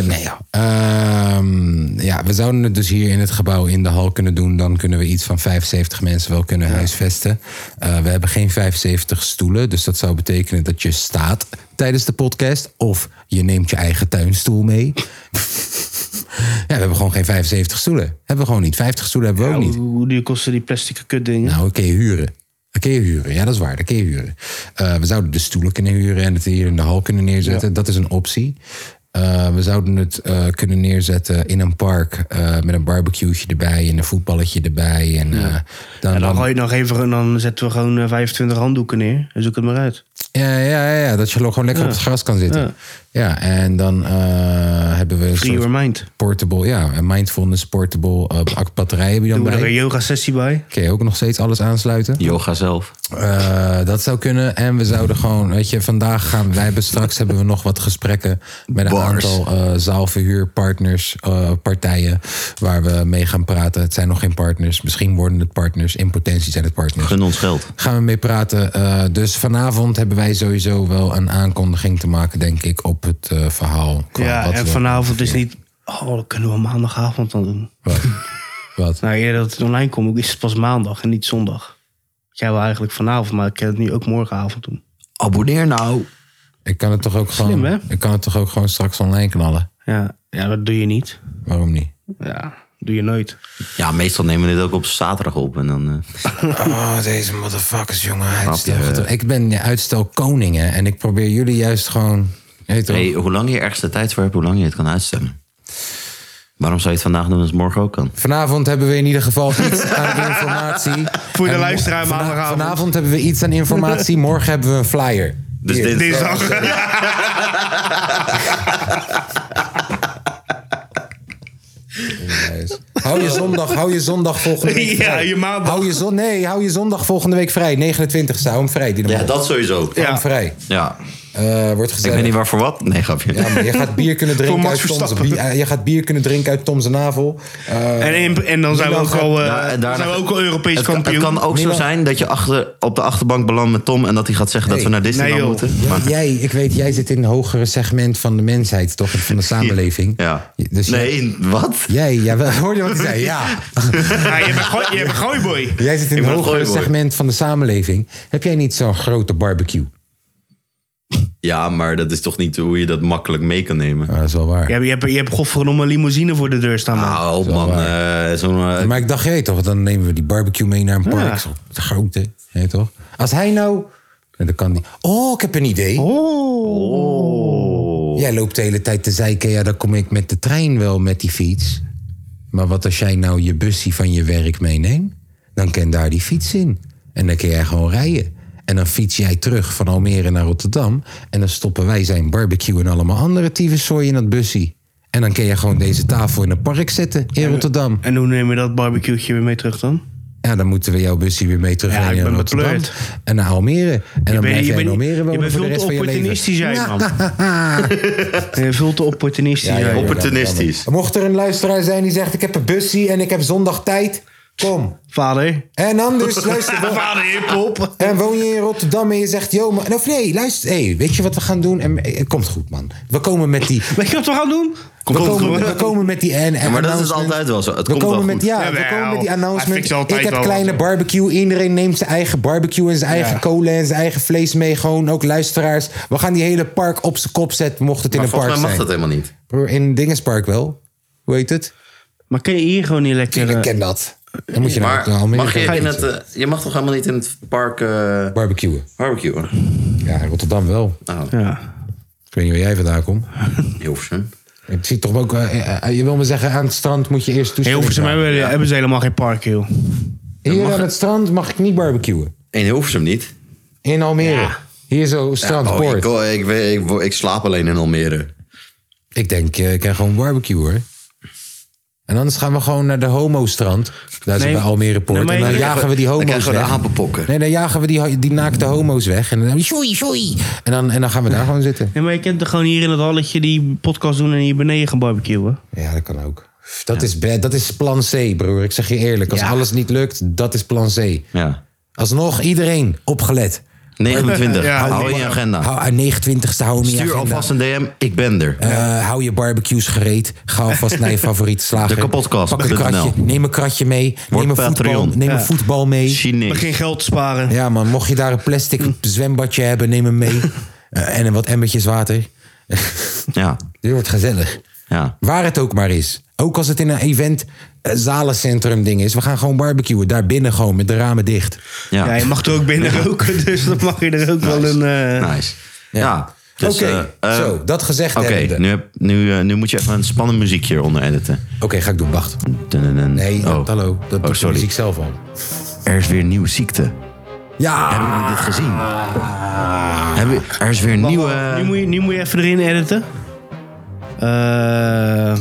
nee, ja. Ehm, ja, we zouden het dus hier in het gebouw in de hal kunnen doen. Dan kunnen we iets van 75 mensen wel kunnen huisvesten. Eh, we hebben geen 75 stoelen. Dus dat zou betekenen dat je staat tijdens de podcast. Of je neemt je eigen tuinstoel mee. <laughs> ja, we hebben gewoon geen 75 stoelen. Hebben we gewoon niet. 50 stoelen hebben we ook
Nou,
niet.
hoe, hoe duur kosten die plastic kutdingen?
Nou, oké, huren. Oké, huren. Ja, dat is waar. Dat kun je huren. Eh, we zouden de stoelen kunnen huren en het hier in de hal kunnen neerzetten. Dat is een optie. Eh, we zouden het eh, kunnen neerzetten in een park eh, met een barbecue'tje erbij en een voetballetje erbij. En, eh, dan,
En dan
dan-
gooi je het nog even, dan zetten we gewoon eh, 25 handdoeken neer. En zoek het maar uit.
ja, ja, ja, ja, dat je gewoon lekker op het gras kan zitten. Ja, en dan eh, hebben we een
Free
soort
your mind.
portable, ja, een mindfulness portable eh, batterij heb je dan
Doen we er
bij.
een yoga sessie bij.
Kun je ook nog steeds alles aansluiten?
<laughs> Yoga zelf.
Eh, dat zou kunnen. En we zouden gewoon, weet je, vandaag gaan wij hebben straks hebben we nog wat gesprekken met een
Bars.
aantal eh, zaalverhuurpartners, eh, partijen waar we mee gaan praten. Het zijn nog geen partners. Misschien worden het partners. In potentie zijn het partners.
Gun ons geld.
Gaan we mee praten. Eh, dus vanavond hebben wij sowieso wel een aankondiging te maken, denk ik, op het eh, verhaal. qua
ja,
wat
en
we-
vanavond is niet... Oh, dat kunnen we maandagavond dan doen.
Wat? wat?
Nou, eerder dat het online komt, is het pas maandag en niet zondag. Jij wil eigenlijk vanavond, maar ik kan het nu ook morgenavond doen.
Abonneer nou.
Ik kan het toch ook gewoon.
hè?
ik kan het toch ook gewoon straks online knallen.
Ja, ja dat doe je niet.
Waarom niet?
Ja, doe je nooit.
Ja, meestal nemen we dit ook op zaterdag op. En dan, eh,
Oh, deze motherfuckers, jongen. Uitstel.
Grapje.
Toch, Ik ben de uitstelkoning, hè. En ik probeer jullie juist gewoon... Hey, toch?
hey, hoe lang je ergens de tijd voor hebt, hoe lang je het kan uitstellen. Waarom zou je het vandaag doen als het morgen ook kan?
Vanavond hebben we in ieder geval
<laughs>
iets aan informatie.
Voor de
En mo-
luisteraar
vana-
maandagavond.
Vanavond hebben we iets aan informatie. Morgen hebben we een flyer.
Dus
Hier.
Dinsdag.
eh, Nice. Hou je zondag, hou je zondag volgende week
<laughs> Ja,
vrij.
je maandag.
Hou je zon, nee, hou je zondag volgende week vrij. 29 hou hem vrij. Die
Ja, dat sowieso. Ja.
Hou hem vrij. Eh, wordt
Ik
gezellig.
weet niet waar voor wat. Nee, grapje.
Ja, maar je gaat bier kunnen drinken
<laughs> Voor
uit
Max
Tom's,
Verstappen.
bi- eh, je gaat bier kunnen drinken uit Tom's navel. Eh,
En, in- en dan zijn we
Milan
ook
gaat-
al, eh,
Ja, en daarna-
zijn we ook al Europees
<laughs> het, kan- het
kampioen.
kan ook zo
Milan-
zijn dat je achter, op de achterbank belandt met Tom... en dat hij gaat zeggen dat
Nee.
we naar Disneyland
Nee, joh.
moeten. Maar,
Jij, ik weet, jij zit in een hogere segment van de mensheid, toch? Van de samenleving.
ja.
Dus jij-
nee, wat?
Jij, ja, wel- hoor je wat ik zei? Ja.
Ja, je bent gooi- je bent een
<laughs>
gooiboy.
Jij zit
Ik
in een
ben een
hogere
gooiboy.
segment van de samenleving. Heb jij niet zo'n grote barbecue? Nou,
Ja, maar dat is toch niet hoe je dat makkelijk mee kan nemen?
Ah, dat is wel waar.
Je hebt, je hebt, je hebt godverdomme een limousine voor de deur staan. man.
Nou, man. eh, Zo'n... eh,
Maar ik dacht, jij toch, dan nemen we die barbecue mee naar een park.
Ja.
Zo, de grote, hè, toch? Als hij nou... Nee, Dat kan niet. Oh, ik heb een idee. Oh. Jij loopt de hele tijd te zeiken. Ja, dan kom ik met de trein wel met die fiets. Maar wat als jij nou je bussie van je werk meeneemt? Dan kan daar die fiets in. En dan kun jij gewoon rijden. En dan fiets jij terug van Almere naar Rotterdam. En dan stoppen wij zijn barbecue en allemaal andere tyfuszooi in dat bussie. En dan kun je gewoon deze tafel in een park zetten in Rotterdam.
En hoe neem je dat barbecueetje weer mee terug dan?
Ja, dan moeten we jouw bussie weer mee terug
Ja, ik
naar
ben
Rotterdam.
bekleurd.
En naar Almere. En dan
ben-
blijf
je
jij in
bent-
Almere
je
wonen
bent
voor de
veel
rest
te
van je leven.
opportunistisch, jij man.
<laughs>
<laughs> Je bent veel te opportunistisch.
Ja, ja,
jij.
ja,
Opportunistisch.
ja, ja. Mocht er een luisteraar zijn die zegt: Ik heb een bussie en ik heb zondag tijd, kom.
Vader.
En
<laughs>
anders, Dus luister. wo-
Vader hiphop.
En woon je in Rotterdam en je zegt: Yo, man. Of nee, luister. Hey, weet je wat we gaan doen? En, eh, het komt goed, man. We komen met die.
Weet je wat we gaan doen?
We komen,
goed.
we komen met die. En, en
maar dat is
announcement.
altijd wel zo. Het
We
komt wel
komen, met,
goed.
ja, we
Jawel.
komen met die
Hij
announcement.
fixt altijd
Ik heb
wel
kleine
wat.
barbecue. Iedereen neemt zijn eigen barbecue en zijn eigen kolen en zijn eigen vlees mee. Gewoon ook luisteraars. We gaan die hele park op zijn kop zetten, mocht het in
Maar
een
volgens
park
mij mag
zijn.
dat helemaal niet.
Broer, In Dingenspark wel. Hoe heet het?
Maar kun je hier gewoon niet lekker...
Ik
eh,
ken dat. Dan moet je naar
Maar
naar Almere
mag je,
gaan
in het,
fietsen.
eh, je mag toch helemaal niet in het park eh
Barbecuen.
barbecuen?
Ja, in Rotterdam wel.
Nou,
Ja.
Ik weet niet waar jij vandaan komt.
Hilversum.
Ik zie toch ook... eh, eh, eh, je wil me zeggen, aan het strand moet je eerst toestemming
Heel veel
vragen.
hebben, hebben ze helemaal geen park, joh.
Hier aan het strand mag ik niet barbecuen.
In Hilversum niet.
In Almere. Hier zo,
Oh,
strandpoort.
ik,
ik,
oh, ik, weet- ik, wo- ik slaap alleen in Almere.
denk, eh, ik kan gewoon barbecuen hoor. En anders gaan we gewoon naar de homo-strand. Daar zijn
Nee,
we bij Almere Poort.
nee, maar
en dan
je-
jagen we die
Dan
homo's
krijgen we de
weg.
apenpokken.
Nee, dan jagen we die, die naakte homo's weg. En dan, shoei, shoei. En dan, en dan gaan we daar gewoon zitten.
Nee, maar je kunt er gewoon hier in het halletje die podcast doen en hier beneden gaan barbecuen.
Ja, dat kan ook. Dat, is, bad- dat is plan C, broer. Ik zeg je eerlijk. Als
Ja.
alles niet lukt, dat is plan C.
Ja.
Alsnog, iedereen opgelet.
29.
Ja,
hou in
die-
je agenda.
Hou, 29ste, hou hem in je
Ah. Stuur
agenda.
alvast een DM. Ik ben er.
Eh, hou je barbecues gereed. Ga alvast
<laughs>
naar je favoriete slager.
De kapotkast,
Pak een
punt
kratje.
NL.
Neem een kratje mee.
Word
neem een voetbal,
Patreon.
neem een
Ja.
voetbal mee.
Zie niks.
Begin geld te sparen.
Ja man, mocht je daar een plastic
<laughs>
zwembadje hebben, neem hem mee. Eh, en een wat emmertjes water.
Ja.
Dit wordt gezellig.
Ja.
Waar het ook maar is. Ook als het in een event eh, zalencentrum ding is. We gaan gewoon barbecuen. Daar binnen gewoon met de ramen dicht.
Ja.
Ja, je mag er ook binnen roken, <laughs> dus dan mag je er ook wel een... eh,
Nice. Ja. Dus,
Oké,
eh, eh,
zo, dat gezegd
Oké,
hebbende.
nu, heb- nu, eh, nu moet je even een spannend muziekje hieronder editen.
Oké, ga ik doen. Wacht.
Dun-dun-dun.
Nee,
oh.
hallo. Dat
oh,
doet de
sorry.
muziek zelf al.
Er is weer een nieuwe ziekte.
Ja!
Hebben jullie dit gezien? Hebben, er is weer een
wacht,
Ah.
nieuwe...
wacht. Nu, moet je, nu moet je even erin editen. Eh, eh,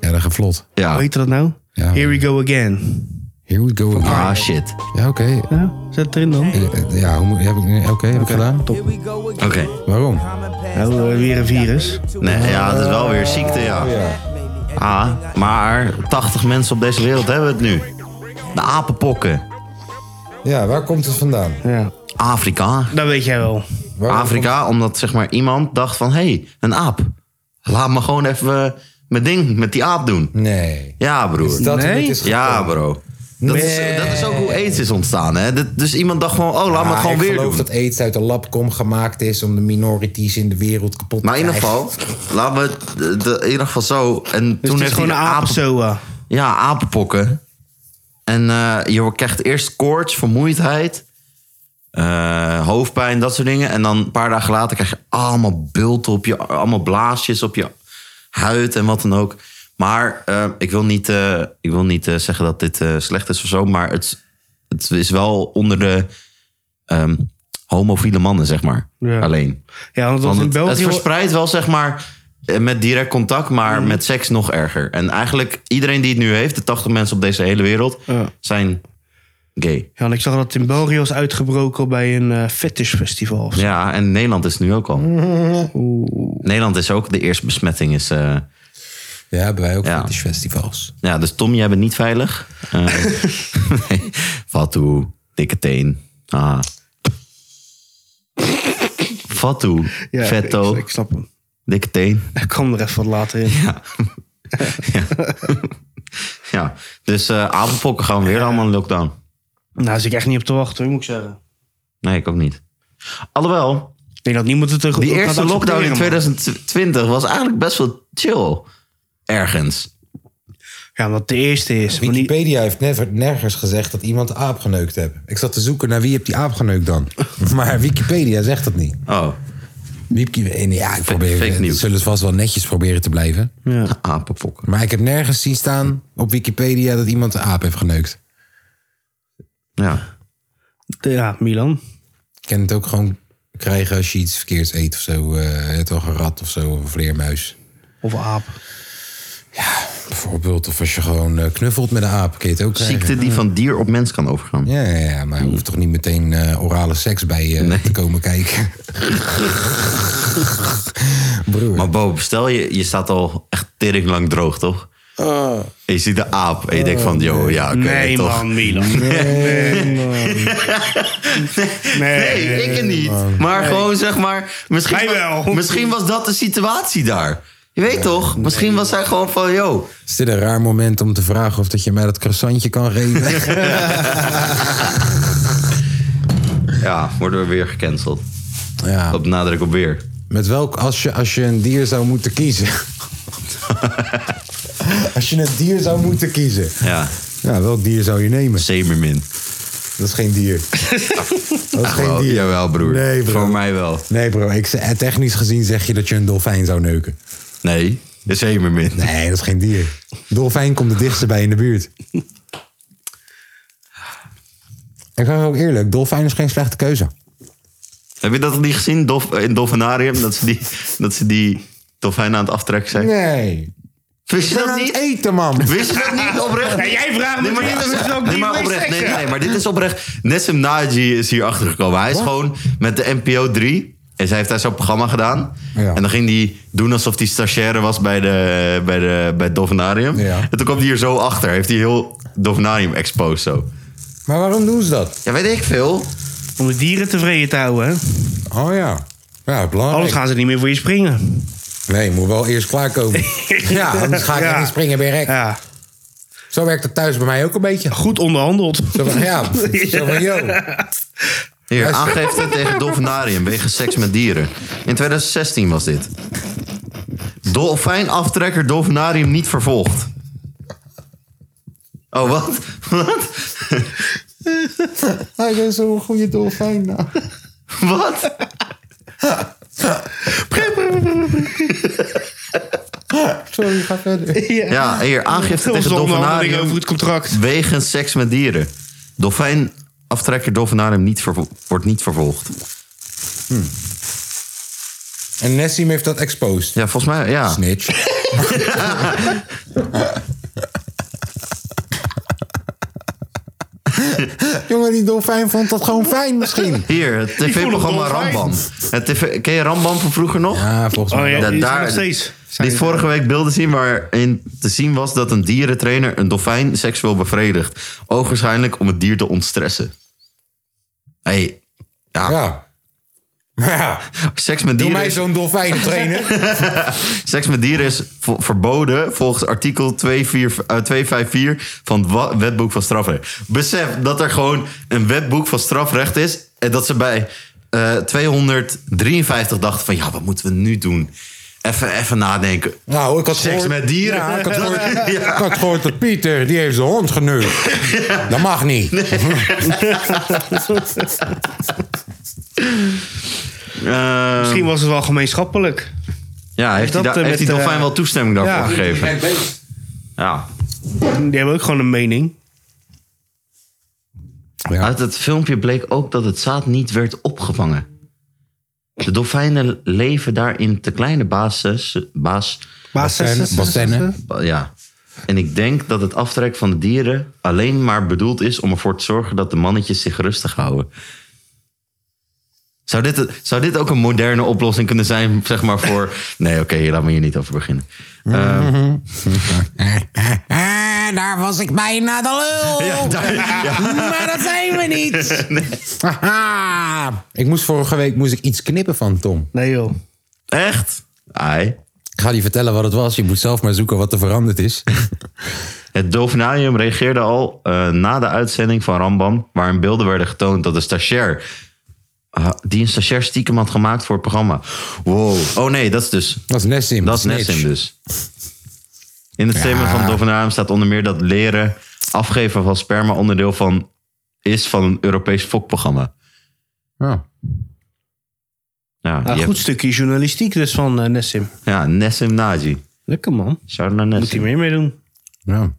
Ja, dat gaat vlot.
Ja.
hoe heet dat nou?
Ja.
Here we go again.
Here we go again.
Ah, shit.
Ja, oké.
Ja, zet het erin dan.
Eh, Ja, hoe moet- heb ik, oké, heb ik gedaan?
Oké.
Waarom?
Nou, eh, weer een virus.
Nee, ja, dat is wel weer ziekte, ja. Ah, maar 80 mensen op deze wereld hebben het nu. De apenpokken.
Ja, waar komt het vandaan?
Ja, Dus
Afrika.
dat weet jij wel.
Waarom
Afrika, omdat zeg maar iemand dacht van... Hé, hey, een aap. Laat me gewoon even eh, mijn ding met die aap doen.
komt- Nee.
Ja, broer.
Dat
Nee?
het is ge-
Ja, bro. Dat,
Nee.
is, dat is ook hoe aids is ontstaan, hè? Dit- Dus iemand dacht gewoon, oh, laat me
Ah,
het gewoon
ik
weer
geloof
doen.
dat aids uit de labcom gemaakt is om de minorities in de wereld kapot te
Maar in ieder
krijgen.
geval, laten we het de- de- in ieder geval zo. En
Dus
toen
het is
heeft hij
gewoon een
apen,
apenzoa.
ja, apenpokken. En eh, je krijgt eerst koorts, vermoeidheid, eh, hoofdpijn, dat soort dingen. En dan een paar dagen later krijg je allemaal bulten op je, allemaal blaasjes op je huid en wat dan ook. Maar eh, ik wil niet, eh, ik wil niet eh, zeggen dat dit eh, slecht is of zo, maar het, het is wel onder de ehm, homofiele mannen, zeg maar.
Ja.
Alleen.
Ja, want dat
Want
was in
het, het
België... Mm.
verspreidt wel, zeg maar, eh, met direct contact, maar met seks nog erger. En eigenlijk iedereen die het nu heeft, de 80 mensen op deze hele wereld,
Ja.
zijn gay.
Ja, want ik zag dat het in België was uitgebroken bij een eh fetishfestival. of zo.
Ja, en Nederland is nu
<laughs>
ook al. Nederland is ook, de eerste besmetting is... eh,
Ja, hebben wij ook
Ja.
fetishfestivals.
ja, dus Tom, jij bent niet veilig.
<laughs>
Eh, nee. Fatu, dikke
<laughs>
teen. Ah. Fatu,
Ja,
vetto,
Ik, ik snap hem.
dikke teen.
Hij kwam er even wat later in.
<laughs> Ja, dus eh avondpokken gaan weer allemaal in lockdown.
Nou, daar zit ik echt niet op te wachten, hoor, moet ik zeggen.
Nee, ik ook niet. Alhoewel,
Ik denk dat niemand het er
die
gaat
eerste lockdown in
accepteren, man.
2020 was eigenlijk best wel chill. Ergens.
Ja, omdat het de eerste is. Maar niet,
Wikipedia heeft never, nergens gezegd dat iemand een aap geneukt heeft. Ik zat te zoeken naar wie heeft die aap geneukt dan. Maar Wikipedia zegt dat niet.
Oh,
Wiki- en ja, ik probeer,
fake
eh,
news.
zullen ze vast wel netjes proberen te blijven.
<laughs>
ja.
apenpokken.
Maar ik heb nergens zien staan op Wikipedia dat iemand een aap heeft geneukt.
Ja.
ja, Milan.
Ik kan het ook gewoon krijgen als je iets verkeerds eet of zo. eh het toch een rat of zo, of een vleermuis.
Of een aap.
Bijvoorbeeld, of als je gewoon eh, knuffelt met een aap, kun je het ook krijgen.
Ziekte die van dier op mens kan overgaan.
Ja, ja, ja, maar je hoeft toch niet meteen eh, orale seks bij je te komen
<laughs>
kijken? Broer.
Maar Bo, stel je, je staat al echt tering lang droog, toch? En je ziet de aap en je denkt van, joh, ja, oké,
Ah. nee,
toch?
man, Milan.
Nee, ik het niet. Maar gewoon zeg maar, misschien,
Wij
wa-
wel.
misschien was dat de situatie daar. Je weet toch? Misschien was hij gewoon van, joh,
Is dit een raar moment om te vragen of dat je mij dat croissantje
<laughs>
kan geven?
Ja, worden we weer gecanceld.
ja.
Op nadruk op weer.
Met welk, als je, als je een dier zou moeten
<laughs>
kiezen. als je een dier zou moeten kiezen.
Ja,
Ja, welk dier zou je nemen?
Zemermin.
Dat is geen dier. Dat is geen
Wel,
dier.
jawel, broer.
Nee, bro.
Voor mij wel.
Nee bro, ik, ze- technisch gezien zeg je dat je een dolfijn zou neuken.
Nee, de Zemermin.
Nee, dat is geen dier. Dolfijn komt het dichtst bij in de buurt. Ik zeg ook eerlijk, dolfijn is geen slechte keuze.
Heb je dat nog niet gezien Dolf, in het Dolfinarium? Dat ze die, dat ze die dolfijnen aan het aftrekken zijn?
Nee.
Wist je
Ik ben
dat
aan het
niet?
eten, man.
Wist je dat niet oprecht?
Ja, jij vraagt me
maar
niet,
dit
dus
is-
ook
nee,
niet
maar
mee
oprecht. Nee,
zeggen.
nee, maar dit is oprecht. Nessim Naji is hier achtergekomen. Hij is gewoon met de NPO 3. En zij heeft daar zo'n programma gedaan.
Ja.
En dan ging hij doen alsof hij stagiaire was bij, de, bij, de, bij het Dolfinarium.
Ja.
En toen kwam hij hier zo achter. Heeft hij heel Dolfinarium exposed zo.
Maar waarom doen ze dat?
Ja, weet ik veel.
Om de dieren tevreden te houden. hè.
Oh ja. Ja, belangrijk.
Anders gaan ze niet meer voor je springen.
Nee, moet wel eerst klaarkomen. ja, anders ga
<laughs>
ik
Ja.
er niet springen bij rek.
Ja.
Zo werkt het thuis bij mij ook een beetje.
Goed onderhandeld.
Zo van, ja, zo van, yo.
Hier, aangifte tegen dolfinarium wegens seks met dieren. In 2016 was dit. Dolfijnaftrekker dolfinarium niet vervolgd. Oh, wat? Wat?
Hij is zo'n goede dolfijn. Nou.
Wat?
Sorry, ga verder.
Ja, hier, aangifte tegen
onderhandeling over
dolfinarium
het contract.
wegens seks met dieren. Dolfijnaftrekker dolfinarium niet vervo- wordt niet vervolgd.
En Nessim heeft dat exposed.
Ja, volgens mij, ja. <laughs>
Snitch. Jongen, die dolfijn vond dat gewoon fijn misschien.
Hier, het tv-programma Rambam. Het TV, ken je Rambam van vroeger nog?
Ja, volgens
Oh
mij.
ja,
Dat
die zijn
daar-
nog steeds.
Liet vorige week beelden zien waarin te zien was dat een dierentrainer een dolfijn seksueel bevredigt. Oogwaarschijnlijk om het dier te ontstressen. hey,
Ja. ja. Maar ja,
seks met
doe
dieren
mij
is
zo'n
<laughs>
dolfijn trainen.
Seks met dieren is vo- verboden volgens artikel 24 eh, 254 van het wa- wetboek van strafrecht. Besef dat er gewoon een wetboek van strafrecht is. En dat ze bij eh, 253 dachten van ja, wat moeten we nu doen? Even, even nadenken.
Nou, ik had
Seks
gehoord-
met dieren.
Ja, ik had
<laughs>
gehoord, ik had gehoord dat Pieter, die heeft zijn hond geneukt. Dat mag niet.
Eh,
Misschien was het wel gemeenschappelijk.
ja, heeft,
dat,
die, da-
eh,
heeft
met,
die dolfijn
eh,
wel toestemming daarvoor
ja.
gegeven? Ja.
Die hebben ook gewoon een mening.
Uit het filmpje bleek ook dat het zaad niet werd opgevangen. De dolfijnen leven daar in te kleine basis, baas,
Bassennen. Bassennen.
ja. En ik denk dat het aftrek van de dieren alleen maar bedoeld is om ervoor te zorgen dat de mannetjes zich rustig houden. Zou dit, zou dit ook een moderne oplossing kunnen zijn, zeg maar, <laughs> voor... Nee, oké, laat me hier niet over beginnen.
Ah, daar was ik bijna de lul. Maar dat zijn we niet. Haha. Ik moest vorige week moest ik iets knippen van Tom.
Nee joh.
Echt? Ai.
Ik ga je vertellen wat het was. Je moet zelf maar zoeken wat er veranderd is. <laughs>
Het Dolfinarium reageerde al eh, na de uitzending van Rambam, waarin beelden werden getoond dat de stagiair. ah, die een stagiair stiekem had gemaakt voor het programma. Wow. Oh nee, dat is dus.
Dat is Nessim.
Dat is
Snitch.
Nessim dus. In het statement van het Dolfinarium staat onder meer dat leren afgeven van sperma onderdeel van, is van een Europees fokprogramma.
Ja.
Ja,
Nou,
je
goed
hebt-
stukje journalistiek dus van eh, Nessim.
ja Nessim Naji.
Lekker man.
Shout out naar
Moet hij
Nessim.
meer mee doen.
Ja.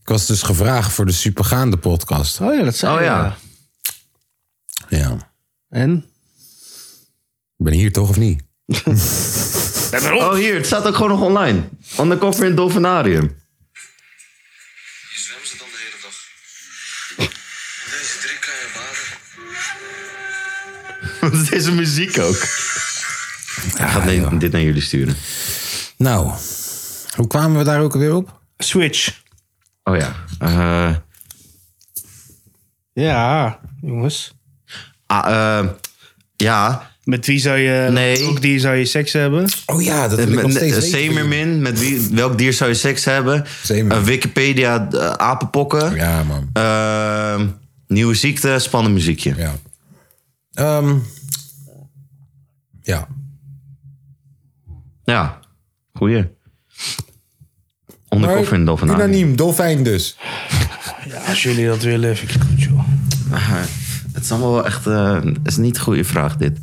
Ik was dus gevraagd voor de supergaande podcast.
Oh ja, dat zei
Oh
je,
ja.
Ja.
En?
Ik ben hier toch of niet?
Oh hier, het staat ook gewoon nog online. Undercover in het Dolfinarium.
Je zwemt ze dan de hele dag.
Oh.
In deze drie kan je baden.
<laughs> Want het is een muziek ook. Ik ga dit- dit naar jullie sturen.
Nou, hoe kwamen we daar ook weer op?
Switch.
Oh ja. Eh,
Ja, jongens.
ah, eh, ja.
Met wie zou je...
Nee.
Ook die zou je seks hebben?
Oh ja, dat wil ik nog steeds
Een
weten.
eh, zeemermin. Met wie, welk dier zou je seks hebben?
Zeemermin. Oh
Eh, Wikipedia, eh, apenpokken.
Ja, man.
Eh, nieuwe ziekte, spannend muziekje.
Ja. Ehm, ja.
Ja. Goeie. Undercover in Dolphin
Unaniem, dolfijn dus.
Ja, als jullie dat willen, vind ik het goed joh.
Het is allemaal wel echt... eh, het is niet een goede vraag dit.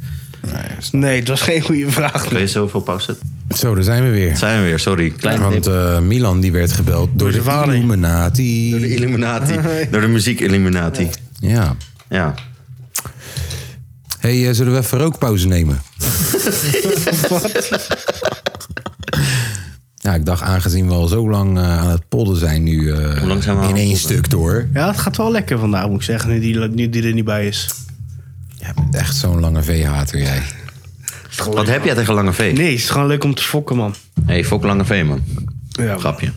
Nee, het was geen goede vraag.
Kun je zoveel pauze?
Zo, daar zijn we weer.
Zijn we weer, sorry. Klein tip.
Want eh, Milan die werd gebeld door,
zijn
de
vader.
Illuminati.
Door de
<laughs>
Illuminati. Door de muziek Illuminati.
Ja.
Ja.
hey, eh, zullen we even rookpauze nemen? Ja, ik dacht, aangezien we al zo lang eh, aan het podden zijn nu... eh,
lang zijn we aan
in
het
één stuk door.
Ja, het gaat wel lekker vandaag, moet ik zeggen. Nu die, nu die er niet bij is.
Jij bent echt zo'n lange veehater, jij.
Wat heb jij tegen Lange V?
Nee, het is gewoon leuk om te fokken, man.
hey, fok Lange V, man.
Ja,
Grapje.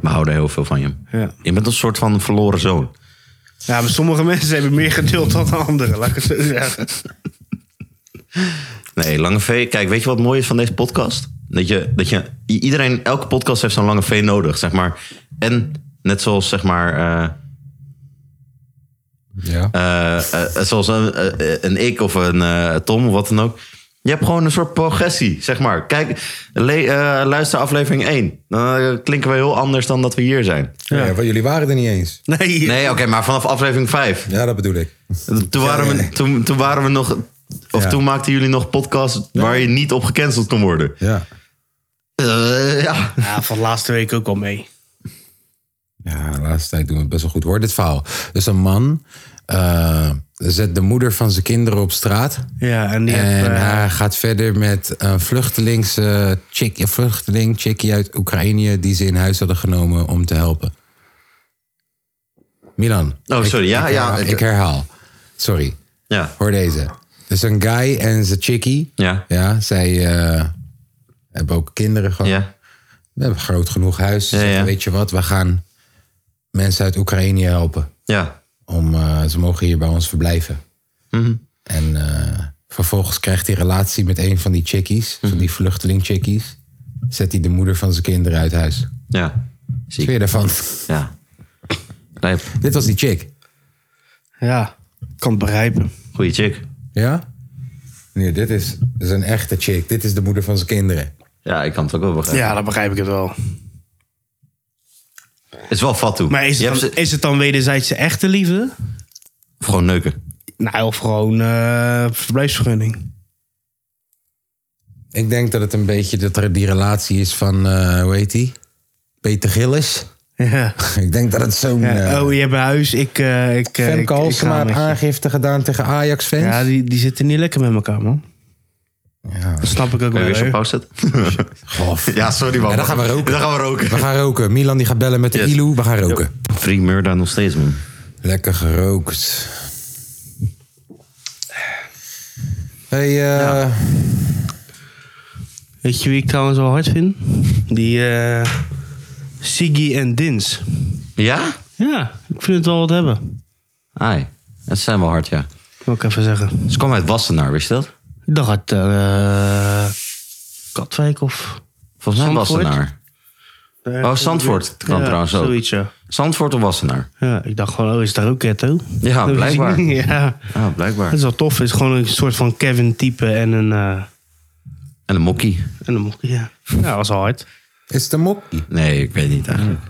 We houden heel veel van je.
Ja.
Je bent een soort van verloren zoon.
Ja, maar sommige <laughs> mensen hebben meer geduld dan anderen, laat ik het zo zeggen.
Nee, Lange V. Kijk, weet je wat mooi is van deze podcast? Dat je, dat je i- iedereen, elke podcast heeft zo'n Lange V nodig, zeg maar. En net zoals, zeg maar, eh,
Ja.
eh, eh, zoals een, eh, een ik of een eh, Tom of wat dan ook. Je hebt gewoon een soort progressie, zeg maar. Kijk, le- eh, luister aflevering 1. Dan eh, klinken we heel anders dan dat we hier zijn.
ja. want jullie waren er niet eens.
Nee,
Nee, oké, maar vanaf aflevering 5.
Ja, dat bedoel ik.
Toen waren we, toen, toen waren we nog. Of
Ja.
toen maakten jullie nog podcasts waar je niet op gecanceld kon worden.
Ja.
Eh, ja.
Ja, van laatste week ook al mee.
Ja, de laatste tijd doen we het best wel goed. Hoor dit verhaal. Dus een man eh, zet de moeder van zijn kinderen op straat.
Ja, en die heeft,
En
eh,
nou.
hij gaat verder met een vluchtelings, eh, chick, een vluchteling chickie uit Oekraïne... die ze in huis hadden genomen om te helpen. Milan.
Oh,
ik-
sorry. Ja,
ik,
ja,
herhaal-
het-
ik herhaal. Sorry.
Ja.
Hoor deze. Dus een guy en zijn chickie.
Ja.
Ja, zij eh, hebben ook kinderen gehad.
Ja.
We hebben een groot genoeg huis. Ze
Ja,
zeggen,
ja.
Weet je wat, we gaan mensen uit Oekraïne helpen.
Ja.
Om, eh, ze mogen hier bij ons verblijven.
Mhm.
En eh, vervolgens krijgt hij relatie met een van die chickies.
Mhm.
Van die vluchteling chickies. Zet hij de moeder van zijn kinderen uit huis.
Ja. Zie
Wat
ik.
vind je daarvan? <laughs>
Ja. Lijp.
Dit was die chick.
ja, kan het begrijpen.
Goeie chick.
Ja? Nee, dit is, dit is een echte chick. Dit is de moeder van zijn kinderen.
Ja, ik kan het ook wel begrijpen.
Ja, dan begrijp ik het wel.
Het is wel fatu.
Maar is
Je
het,
hebt
dan,
ze-
is het dan wederzijdse echte liefde?
Of gewoon neuken.
Nou, of gewoon eh, verblijfsvergunning.
Ik denk dat het een beetje dat er die relatie is van, eh, hoe heet die? Peter Gillis. <laughs>
Ja.
Ik denk dat het zo'n...
Ja,
eh,
Oh, je hebt een huis. Ik, eh ik, eh,
Femke
ik, ik ga
Halsema heeft
met je.
aangifte gedaan tegen Ajax-fans.
Ja, die, die zitten niet lekker met elkaar, man.
Ja.
Dat snap ik ook
Kun je
wel.
weer zo'n
hoor.
pauze zetten?
<laughs> Gof.
ja, sorry man.
Ja, dan gaan we roken.
Dan gaan we roken.
We gaan roken. Milan die gaat bellen met de
Yes.
Ilu. We gaan roken.
Free murder nog steeds, man.
Lekker gerookt. Hey, eh,
Weet je wie ik trouwens wel hard vind? Die eh Siggy en Dins.
Ja?
Ja, ik vind het wel wat hebben.
Ai. Dat zijn wel hard, ja.
Wil ik even zeggen.
Ze komen uit Wassenaar, wist je dat?
Ik dacht uit eh, Katwijk of...
Volgens mij
Zandvoort?
Wassenaar. Oh, Zandvoort kan
ja,
trouwens ook.
Zoiets, ja.
Zandvoort of Wassenaar?
ja. Ik dacht gewoon, oh, is daar ook ghetto? Dat
Ja,
wist ik
blijkbaar.
niet, <laughs> ja.
Ja,
Ah,
blijkbaar.
Dat is wel tof. Het is gewoon een soort van Kevin-type en een... eh
En een mokkie.
en een mok- ja. ja, dat was wel hard.
is het een mokkie?
Nee, ik weet niet eigenlijk.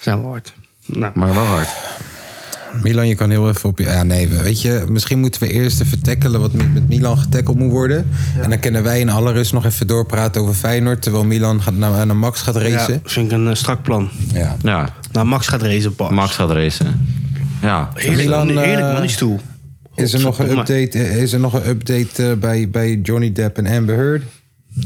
Zijn wel hard. Nou,
Maar wel hard.
Milan, je kan heel even op je... Ja, nee, we- weet je, misschien moeten we eerst even tackelen wat met met Milan getackeld moet worden. En dan kunnen wij in alle rust nog even doorpraten over Feyenoord... terwijl Milan gaat naar, naar Max gaat
ja,
racen.
vind ik een eh, strak plan.
Ja.
Ja,
Nou, Max gaat racen, pas.
Max gaat racen. Ja.
Heerlijk,
Milan,
man, heerlijk
eh,
man, die stoel.
Is, er nog een update, eh, is er nog een update eh, bij, bij Johnny Depp en Amber Heard?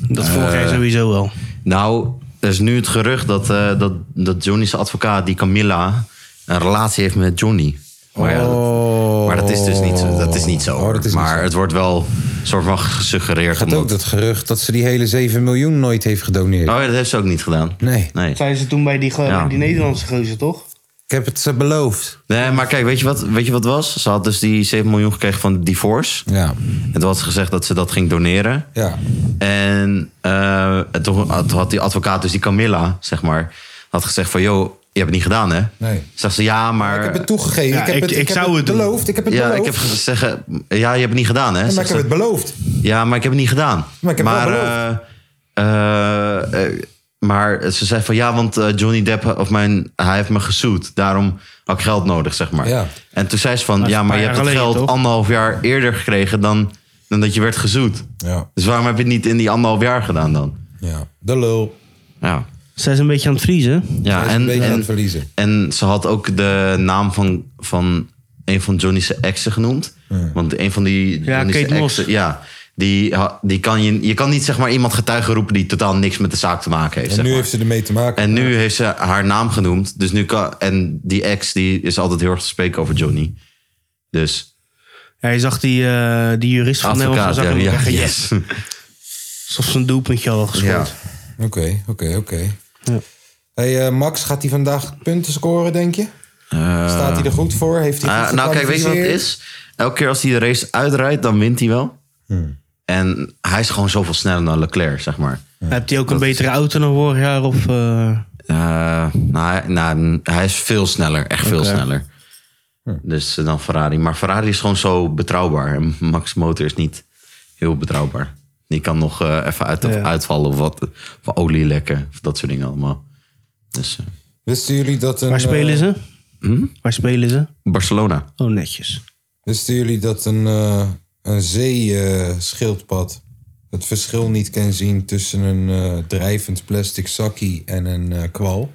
Dat
Eh,
volg jij sowieso wel.
Nou, er is nu het gerucht dat, eh, dat, dat Johnny's advocaat, die Camilla, een relatie heeft met Johnny. Maar, ja, dat,
Oh.
maar dat is dus niet zo. Dat is niet zo.
Oh, dat is niet
maar
zo.
het wordt wel soort van gesuggereerd.
Gaat
omdat-
ook dat gerucht dat ze die hele 7 miljoen nooit heeft gedoneerd.
Oh ja, dat heeft ze ook niet gedaan.
Nee.
Nee.
Zijn ze toen bij die, gro-
Ja.
die Nederlandse gozer, toch?
Ik heb het ze beloofd.
nee, maar kijk, weet je, wat, weet je wat het was? Ze had dus die 7 miljoen gekregen van de divorce.
Ja.
En toen had ze gezegd dat ze dat ging doneren.
Ja.
En eh, en toen had- had die advocaat, dus die Camilla, zeg maar, had gezegd van... joh, je hebt het niet gedaan, hè?
Nee.
Zegt ze, ja, maar...
Ik heb het toegegeven.
Ja,
ik heb
ik-
het,
ik
heb
zou het doen.
beloofd. Ik heb het
Ja,
beloofd.
ik heb gezegd, ja, je hebt het niet gedaan, hè?
maar
Zegt
ik heb
ze,
het beloofd.
ja, maar ik heb het niet gedaan.
Maar ik heb het wel
eh, eh, eh, maar ze zei van, ja, want eh, Johnny Depp, of mijn, hij heeft me gezoet. Daarom had ik geld nodig, zeg maar.
Ja.
En toen zei ze van, ja,
een
maar
paar
je hebt
jaar
het
geleden,
geld
toch?
anderhalf jaar eerder gekregen dan, dan dat je werd gezoet.
Ja.
Dus waarom heb je het niet in die anderhalf jaar gedaan dan?
ja. De lul.
Ja,
Zij is een beetje aan het vriezen.
ja
Hij is
en,
een beetje aan
en,
het verliezen.
En ze had ook de naam van, van een van Johnny's exen genoemd. Want een van die
Ja,
Johnny's
Kate Moss.
exen- Ja, die, ha- die kan je, je kan niet zeg maar iemand getuigen roepen die totaal niks met de zaak te maken heeft.
En
zeg
nu
maar.
heeft ze ermee te maken.
en nu heeft ze haar naam genoemd. Dus nu kan, en die ex die is altijd heel erg te spreken over Johnny. Dus
Ja, je zag die, eh, die jurist van Nederland.
advocaat,
zag
ja,
hem
ja,
zeggen, yes.
yes.
Alsof ze een doelpuntje hadden
Ja.
gescoord.
Oké, oké, oké. Hey, eh, Max, gaat hij vandaag punten scoren, denk je? Staat hij er goed voor? Heeft hij
Eh,
goed
nou, kijk, weet je wat het
gekwalificeerd?
is? Elke keer als hij de race uitrijdt, dan wint hij wel.
Hm.
En hij is gewoon zoveel sneller dan Leclerc, zeg maar.
Hebt hij ook een betere auto dan vorig jaar? Of, eh,
Eh, nou, hij- nou, hij is veel sneller. Echt veel sneller. Dus eh, dan Ferrari. Maar Ferrari is gewoon zo betrouwbaar. En Max Motor is niet heel betrouwbaar. Die kan nog eh, even uit,
Ja.
uitvallen of wat. Of olie lekken. Of dat soort dingen allemaal. Dus eh,
Wisten jullie dat een...
waar spelen
eh,
ze?
Hm?
Waar spelen ze?
Barcelona.
Oh, netjes.
Wisten Dus jullie dat een, eh, een zeeschildpad het verschil niet kan zien tussen een eh, drijvend plastic zakkie en een eh, kwal?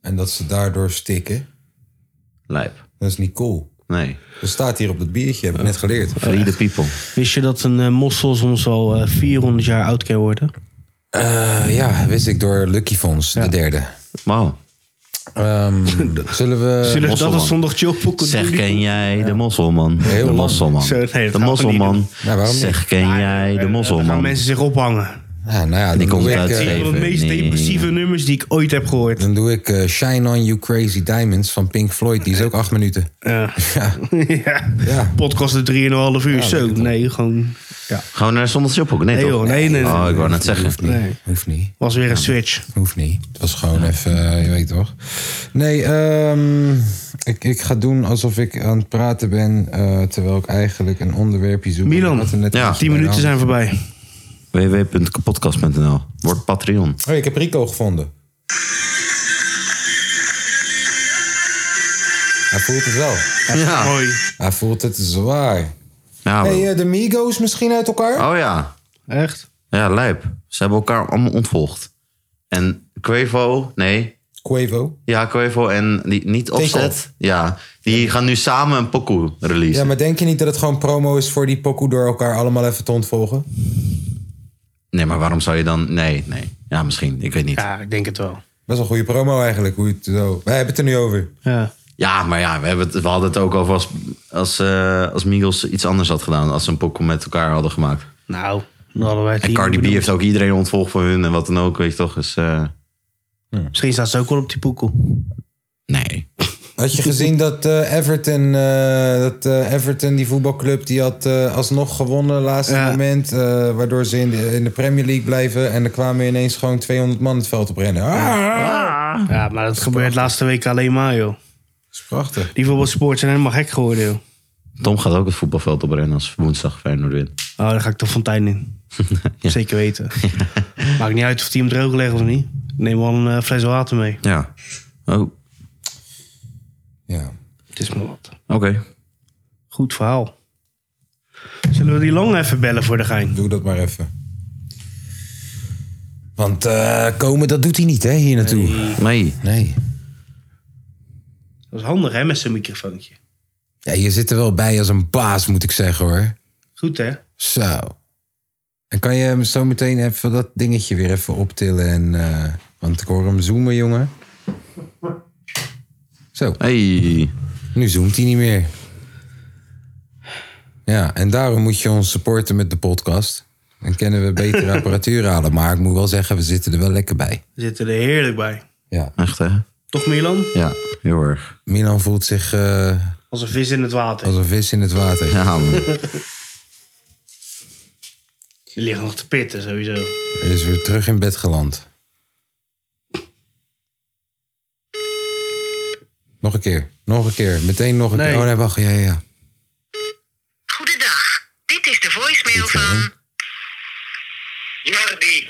En dat ze daardoor stikken.
Lijp.
Dat is niet cool.
Nee.
Dat staat hier op het biertje, heb ik net geleerd.
Free the people.
Wist je dat een eh, mossel soms al eh, 400 jaar oud kan worden?
Eh, ja, wist ik door Lucky Fonds, de derde.
Wauw.
Ehm, zullen we...
Zullen we dat
mosselman.
als zondag chillpokken doen?
Zeg, ken jij de mosselman?
Heel
de
lang.
mosselman.
Zo, nee, dat gaan we
de
niet
mosselman.
doen.
Nou, waarom niet?
zeg, ken jij de
eh, Dan gaan
mosselman?
mensen zich ophangen.
Ja, nou ja, dan
Die komt
doe, ik,
uit
eh,
Zeeland.
Een van de
Even
meest
niet.
depressieve nummers die ik ooit heb gehoord.
dan doe ik eh, Shine On You Crazy Diamonds van Pink Floyd. Die is ook acht minuten.
Ja.
Ja,
ja. <laughs>
Ja.
Podcast de 3,5 uur. Zo, nee, gewoon. Ja.
Gaan we naar zonder chillpokken? Nee,
Nee,
toch?
joh, nee, nee, nee.
Oh, ik wou net zeggen.
hoeft niet.
Nee.
Hoeft niet.
Was weer een switch.
Hoeft niet. Het was gewoon even, eh, je weet toch. Nee, ehm, ik, ik ga doen alsof ik aan het praten ben. eh, terwijl ik eigenlijk een onderwerpje zoek.
Milan,
Wat er net
ja,
is
10
bij
minuten
de
zijn
hand.
voorbij.
www.kapotkast.nl Word Patreon.
Oh, ik heb Rico gevonden. Hij voelt het wel.
Ja.
Mooi.
Hij voelt het zwaar.
Ja,
Hey,
wel.
eh, de Migos misschien uit elkaar?
oh ja.
Echt?
Ja, lijp. Ze hebben elkaar allemaal ontvolgd. En Quavo, nee.
Quavo.
Ja, Quavo en die, niet Offset.
Off.
Ja, die gaan nu samen een pokoe
Ja,
releasen.
maar denk je niet dat het gewoon promo is voor die pokoe door elkaar allemaal even te ontvolgen?
Nee, maar waarom zou je dan... Nee, nee. Ja, misschien. Ik weet niet. Ja,
Ja, ik denk het wel.
Best wel goede promo eigenlijk. Hoe je het zo... Wij hebben het er nu over.
Ja.
maar ja, we, hebben het, we hadden het ook over als, als, eh, als Migos iets anders had gedaan. Als ze een pokoe met elkaar hadden gemaakt.
Nou, dan hadden wij het
En
hier
Cardi B
bedoeld.
heeft ook iedereen ontvolgd van hun en wat dan ook. Weet je toch? Dus, eh,
Misschien staat ze ook wel op die poekel.
nee.
Had je gezien dat eh, Everton, eh, dat eh, Everton, die voetbalclub, die had eh, alsnog gewonnen laatste
Ja.
moment. eh, waardoor ze in de, in de Premier League blijven. En er kwamen ineens gewoon 200 man het veld op rennen. Ah,
Ja, maar dat gebeurt laatste week alleen maar, joh.
dat is prachtig.
Die voetbalsports zijn helemaal gek geworden, joh.
Tom gaat ook het voetbalveld oprennen als woensdag Feyenoord wint.
Oh, daar ga ik de fontein
<laughs>
in. Zeker weten. Maakt niet uit of die hem droog legt of niet. Neem wel een eh, fles water mee.
Ja. Oh, oké.
Ja.
Het is maar wat. Goed verhaal. Zullen we die lang even bellen voor de gein?
Doe dat maar even. Want eh, komen, dat doet hij niet, hè, hier naartoe.
Nee.
Nee.
Dat is handig, hè, met zo'n microfoontje.
Ja, je zit er wel bij als een baas, moet ik zeggen hoor.
Goed, hè?
Zo. En kan je hem zo meteen even dat dingetje weer even optillen? En, eh, want ik hoor hem zoomen, jongen. Zo,
Hey.
nu zoomt hij niet meer. Ja, en daarom moet je ons supporten met de podcast. Dan kunnen we betere apparatuur halen. Maar ik moet wel zeggen, we zitten er wel lekker bij.
We zitten er heerlijk bij.
Ja.
Echt hè?
Toch, Milan?
Ja, heel erg.
Milan voelt zich eh,
Als een vis in het water.
als een vis in het water.
Ja, man. <laughs>
Die liggen nog te pitten, sowieso.
Hij is weer terug in bed geland. Nog een keer, nog een keer, meteen nog een
Nee.
keer. Oh nee, wacht, ja, ja, ja.
Goedendag, dit is de voicemail van... Jordi.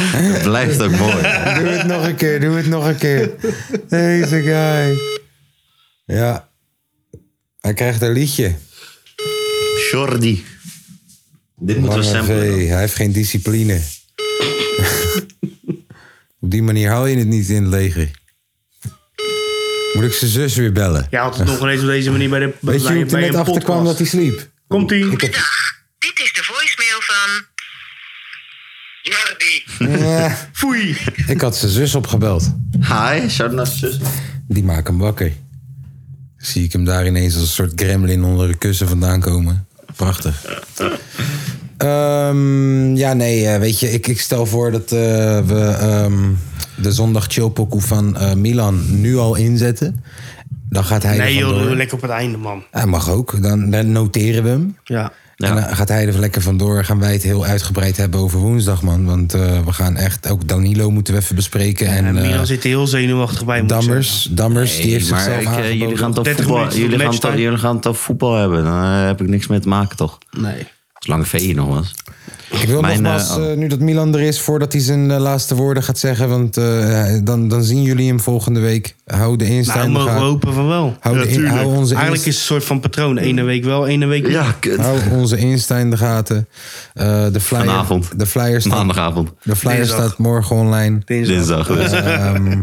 Het blijft ook mooi.
Doe het nog een keer, doe het nog een keer. Deze guy. Ja. Hij krijgt een liedje.
Jordi. Dit moeten we
Lange
samplen.
V, hij heeft geen discipline. Op die manier hou je het niet in het leger. Moet ik zijn zus weer bellen?
Jij had het nog ineens op deze manier bij de bij,
Weet je hoe ik er
bij
net
een
achter kwam dat
podcast.
hij
<laughs>
sliep?
Komt-ie.
Ik heb
Dit is de voicemail van... Jordi.
Ja,
Foei.
ik had zijn zus opgebeld.
Hi, shout naar zus.
Die maakt hem wakker. Zie ik hem daar ineens als een soort gremlin onder de kussen vandaan komen. Prachtig. Ehm, ja, nee, eh, weet je, ik, ik stel voor dat eh, we ehm, de zondag chillpokoe van eh, Milan nu al inzetten. Dan gaat hij
Nee
er
joh,
vandoor.
doen we lekker op het einde, man.
Hij mag ook, dan, dan noteren we hem.
Ja.
En dan gaat hij er lekker vandoor. Gaan wij het heel uitgebreid hebben over woensdag, man. Want eh, we gaan echt, ook Danilo moeten we even bespreken. En,
En
eh,
Milan zit er heel zenuwachtig bij. moet ik zeggen.
Dammers, Dammers, die heeft
maar
zichzelf
ik, eh,
aangeboden.
jullie, gaan toch
30
voetbal,
minuten tot
jullie, gaan
matchtijd.
toch, jullie gaan toch voetbal hebben. Dan eh, heb ik niks mee te maken, toch?
Nee.
Zolang V hier nog was.
Ik wil
Mijn,
nogmaals,
eh, oh.
eh, nu dat Milan er is, voordat hij zijn eh, laatste woorden gaat zeggen. Want eh, dan, dan zien jullie hem volgende week. Hou de Insta
Nou,
in de
mogen we
gaten.
hopen van wel.
Hou de in-
tuurlijk.
hou onze
Eigenlijk is
inst-
het een soort van patroon. Ene week wel, ene week niet.
Ja, kut.
Hou onze Insta in de gaten. Eh, de flyer,
Vanavond.
De flyer staat,
Maandagavond.
de flyer
Dinsdag.
staat morgen online.
Dinsdag.
Dinsdag. Dus.
<laughs> Ehm,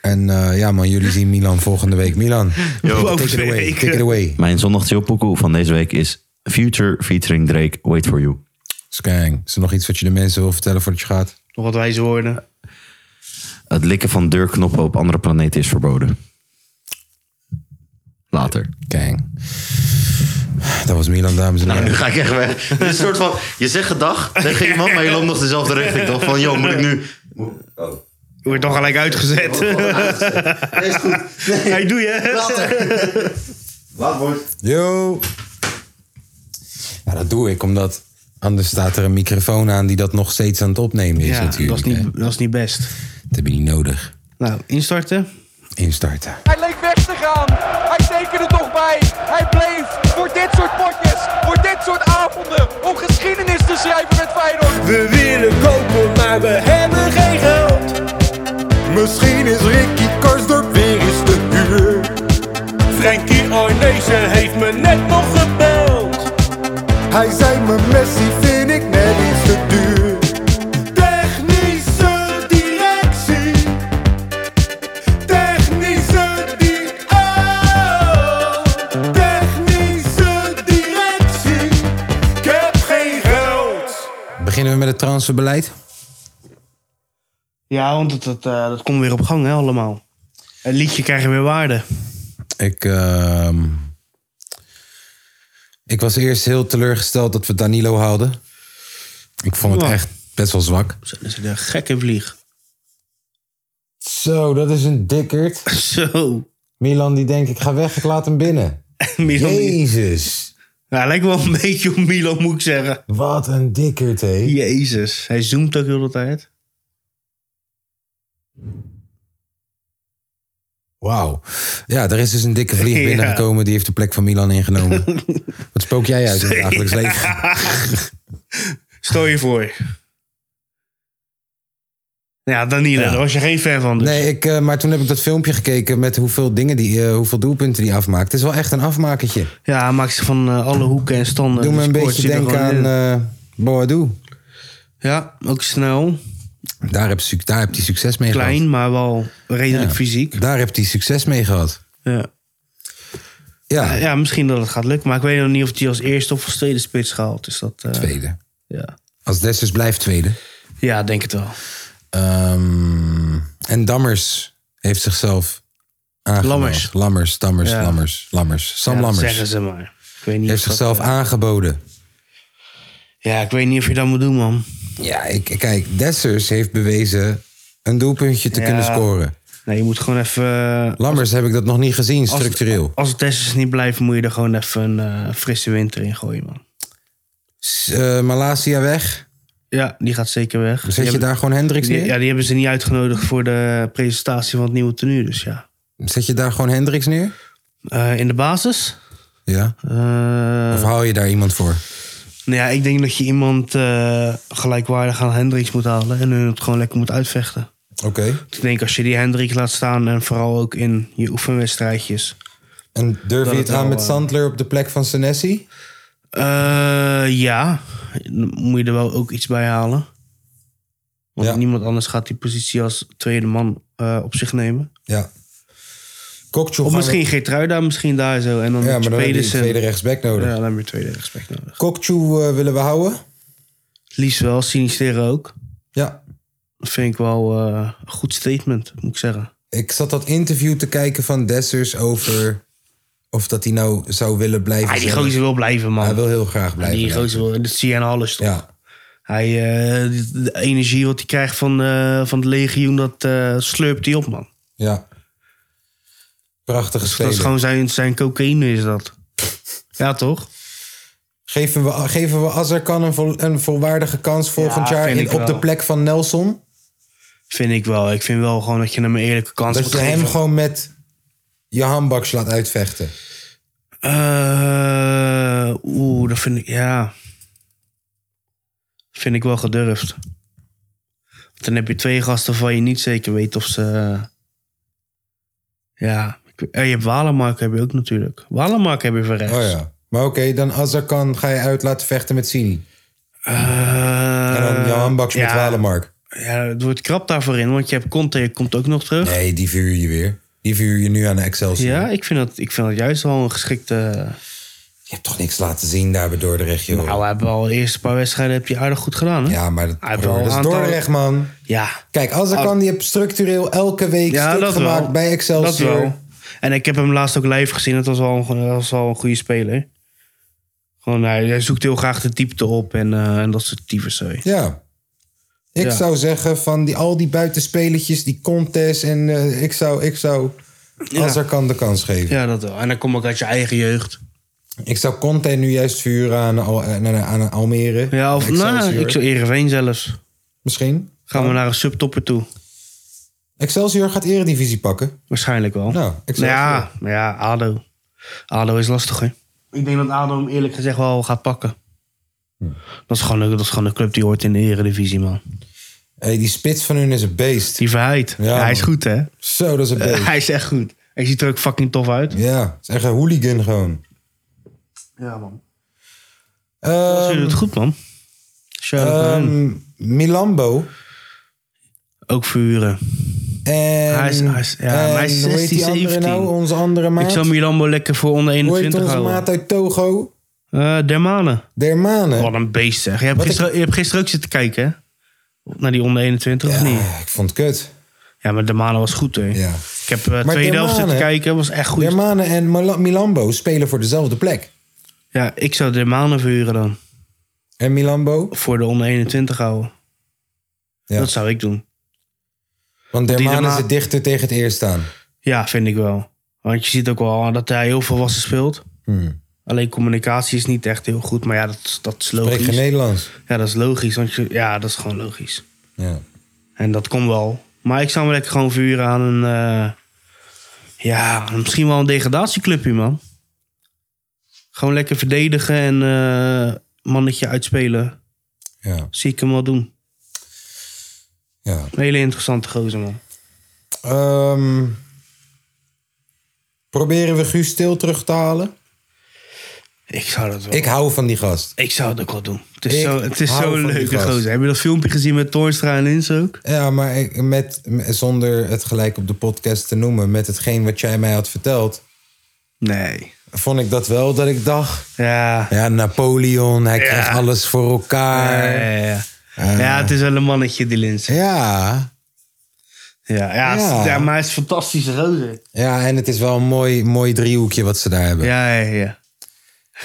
en eh, ja man, jullie zien Milan volgende week. Milan,
Over
take it
twee
away.
weken.
Take it away.
Mijn zondag chillpokoe van deze week is Future featuring Drake, Wait For You.
Skang, is er nog iets wat je de mensen wil vertellen voordat je gaat?
Nog wat wijze woorden.
Het likken van deurknoppen op andere planeten is verboden. Later.
Kang. Dat was Milan, dames en heren.
Nu ga ik echt weg. Dit is <laughs> een soort van, je zegt gedag tegen iemand, maar je loopt nog dezelfde richting. Toch van, joh, moet ik nu...
Je wordt toch gelijk uitgezet. <laughs>
Nee, is goed.
Hij doe je.
Later. Laat woord.
Yo! Ja, dat doe ik omdat anders staat er een microfoon aan die dat nog steeds aan het opnemen is
Ja, dat
natuurlijk.
is,
hè.
niet, dat is niet best.
Dat heb je niet nodig.
Nou, instarten.
Instarten.
Hij leek weg te gaan. Hij tekende toch bij. Hij bleef voor dit soort potjes, voor dit soort avonden, om geschiedenis te schrijven met Feyenoord.
We willen kopen, maar we hebben geen geld. Misschien is Ricky Karsdorp weer eens te huur. Frankie Arnezen heeft me net nog gebeld. Hij zei me Messi vind ik net iets te duur. Technische directie. Technische di- oh. Technische directie. Ik heb geen geld.
Beginnen we met het transferbeleid?
Ja, want dat, dat, eh, dat komt weer op gang, hè, allemaal. Een liedje krijgt weer waarde.
Ik, ehm, ik was eerst heel teleurgesteld dat we Danilo haalden. Ik vond het
Ja.
echt best wel zwak.
Zo, Dat is een gekke vlieg.
Zo, dat is een dikkerd.
<laughs> Zo.
Milan die denkt, ik ga weg, ik laat hem binnen.
Milan.
Jezus,
Nou, lijkt wel een beetje op Milan, moet ik zeggen.
wat een dikkerd, hé.
Jezus. Hij zoomt ook heel de tijd.
Wauw. Ja, er is dus een dikke
<laughs>
vlieg
Ja.
binnengekomen. Die heeft de plek van Milan
<laughs>
ingenomen. Wat spook jij uit in het dagelijks leven?
Stel je voor. Ja, Danilo, daar was je geen fan van. Dus.
Nee, ik, eh, maar toen heb ik dat filmpje gekeken met hoeveel, dingen die, eh, hoeveel doelpunten die afmaakt. Het is wel echt een afmakertje.
Ja, hij maakt ze van eh, alle hoeken en standen.
Doe me een
Die scoort
beetje
hij er
denken aan
gewoon in.
eh Boadu.
Ja, ook snel.
Daar heb, suc- daar heb hij succes mee gehad.
Klein, maar wel redelijk
Ja.
fysiek.
Daar heb hij succes mee gehad.
Ja.
Ja,
ja, misschien dat het gaat lukken. Maar ik weet nog niet of hij als eerste of als tweede spits gehaald is. Dat, eh,
tweede.
Ja.
Als Dessers blijft tweede.
ja, denk het wel.
Ehm, en Dammers heeft zichzelf aangeboden.
Lammers.
Lammers, Dammers,
Ja.
Lammers, Lammers. Sam
Ja, dat
Lammers
Zeggen ze maar. Ik weet niet
heeft
of dat- eh,
zichzelf aangeboden.
Ja, ik weet niet of je dat moet doen, man.
Ja, ik, kijk, Dessers heeft bewezen een doelpuntje te
Ja.
kunnen scoren.
Nee, je moet gewoon even... eh,
Lammers heb ik dat nog niet gezien, structureel.
Als het Dessers niet blijft, moet je er gewoon even een eh, frisse winter in gooien, man.
S- eh, Malasia weg.
Ja, die gaat zeker weg. Die
Zet je
hebben-
daar gewoon Hendricks
die-
neer?
ja, die hebben ze niet uitgenodigd voor de presentatie van het nieuwe tenue, dus ja.
Zet je daar gewoon Hendricks neer?
Eh, in de basis?
Ja.
Eh,
Of hou je daar iemand voor?
Nou ja, ik denk dat je iemand eh, gelijkwaardig aan Hendricks moet halen en hun het gewoon lekker moet uitvechten.
Oké.
Ik denk als je die Hendricks laat staan en vooral ook in je oefenwedstrijdjes.
En durf
Dat
je
het
het aan
wel,
met
eh,
Sandler op de plek van Senesi?
Eh, ja, Dan moet je er wel ook iets bij halen. Want
Ja.
niemand anders gaat die positie als tweede man eh, op zich nemen.
Ja. Kokchu
Of
gaan
misschien Geertruida, misschien daar zo. En dan
we- Ja, maar dan heb je een
Pedersen.
tweede rechtsback
Ja,
nodig.
dan heb je tweede respect nodig.
Kokchu eh, willen we houden?
Liefst wel, Sinisteren ook.
Ja.
Dat vind ik wel eh, een goed statement, moet ik zeggen.
Ik zat dat interview te kijken van Dessers over... of dat hij nou zou willen blijven.
Ah, die
zelf.
gozer wil blijven, man.
Hij wil heel graag blijven.
die gozer wil, dat zie je aan alles toch?
Ja.
Hij, eh, de, de energie wat hij krijgt van, eh, van het legioen, dat eh, slurpt hij op, man.
Ja. Prachtige
Dat
speler.
is gewoon zijn, zijn cocaïne, is dat. Ja, toch?
Geven we, geven we Azarkan een, vol, een volwaardige kans volgend jaar
vind
in-
ik
op de
wel.
plek van Nelson?
Vind ik wel. Ik vind wel gewoon dat je hem een eerlijke kans
Dat
moet
je hem
geven.
gewoon met je handbaks laat uitvechten.
Eh, Oeh, dat vind ik... Ja. Vind ik wel gedurfd. Want dan heb je twee gasten van je niet zeker weet of ze... eh, Ja, ik- en je hebt Walemark heb je ook natuurlijk. Walemark heb je van rechts.
Oh ja. Maar oké, dan Azarkan ga je uit laten vechten met Sini.
Eh,
En dan Johan Baks met
ja,
Walemark.
Ja, het wordt krap daarvoor in, want je hebt Conte, je komt ook nog terug.
Nee, die vuur je weer. Die vuur je nu aan de Excelsior.
Ja, ik vind, dat, ik vind dat juist wel een geschikte...
Je hebt toch niks laten zien daar bij Dordrecht, joh.
Nou, we hebben al de eerste paar wedstrijden heb je aardig goed gedaan, hè?
Oh. ja, maar dat,
Hij heeft wel
broer, dat
een
is
aantal-
Dordrecht, man.
Ja,
Kijk, Azarkan die heeft structureel elke week
ja
stuk
dat
gemaakt
wel.
bij
Dat
Excelsior.
wel. En ik heb hem laatst ook live gezien. Dat was wel een, dat was wel een goede speler. Gewoon, hij, hij zoekt heel graag de diepte op en, eh, en dat soort types. sorry.
Ja. Ik
Ja.
zou zeggen van die, al die buitenspelertjes, die contests en eh, ik zou, ik zou Azarkan de kans geven.
Ja, dat wel. En dan kom ik uit je eigen jeugd.
Ik zou Conte nu juist vuren aan, Al- aan, aan eh, Almere.
Ja, of nou,
Excelsior. Oh.
ik zou Ereveen zelfs.
Misschien.
Gaan we naar een subtopper toe.
Excelsior gaat eredivisie pakken.
Waarschijnlijk wel.
Nou, Excelsior.
ja, maar ja, ADO. ADO is lastig, hè? Ik denk dat ADO hem eerlijk gezegd wel gaat pakken.
Hm.
Dat, is gewoon, een- dat is gewoon een club die hoort in de eredivisie, man.
Hey, die spits van hun is een beest.
Die verheid.
Ja,
hij is
man.
goed, hè?
Zo, dat is een beest.
<laughs> Hij is echt goed. Hij ziet er ook fucking tof uit.
Ja, het is echt een hooligan gewoon.
Ja, man. Ze
Ehm
doet het goed, man. Shout-out naar hem.
ehm, Milambo.
Ook vuren.
En,
Hij is- hij is- ja, maar hij is
en hoe heet die
16,
andere
17.
nou? Onze andere maat.
Ik zou Milambo lekker voor onder
hoe heet
21
onze
houden.
maat uit Togo?
Eh, Dermane.
Dermane.
Wat een beest, zeg. Je hebt,
Wat ik-
gisteren, je hebt gisteren ook zitten kijken, hè? Naar die onder 21, of niet?
Ah, ik vond het kut.
Ja, maar Dermane was goed, hè?
Ja.
Ik heb eh,
Maar
tweede helft
Dermane-
zitten kijken. was echt goed.
Dermane en Mila- Milambo spelen voor dezelfde plek.
Ja, ik zou Dermane vuren dan.
En Milambo?
Voor de onder 21 houden.
Ja.
Dat zou ik doen.
Want
die
Dermane
Derma-
zit dichter tegen het eerst aan.
Ja, vind ik wel. Want je ziet ook wel dat hij heel volwassen speelt.
Hmm.
Alleen communicatie is niet echt heel goed. Maar ja, dat, dat is
Spreekt geen
logisch.
Nederlands.
Ja, dat is logisch. Want je, ja, dat is gewoon logisch.
Ja.
En dat komt wel. Maar ik zou hem lekker gewoon vuren aan een... eh, ja, misschien wel een degradatieclubje, man. Gewoon lekker verdedigen en eh, mannetje uitspelen.
Ja.
Zie ik hem wel doen.
ja.
Een hele interessante gozer, man.
Ehm, proberen we Guus Stil terug te halen?
Ik zou dat wel...
Ik
Ik,
hou van die gast.
zou het ook wel doen. Het is
Ik
zo, het is
hou
zo
van die
leuk, die
gast.
gozer. Heb je dat filmpje gezien met Toornstra en Lins ook?
Ja, maar ik- met, zonder het gelijk op de podcast te noemen, met hetgeen wat jij mij had verteld,
Nee.
vond ik dat wel dat ik dacht.
Ja.
Ja, Napoleon, hij krijgt alles voor
Ja,
elkaar.
ja, ja. ja, het is wel een mannetje, die Lins. Ja,
Ja,
ja, het is-
Ja.
ja, maar hij is een fantastische gozer.
ja, en het is wel een mooi, mooi driehoekje wat ze daar hebben.
Ja, ja, ja.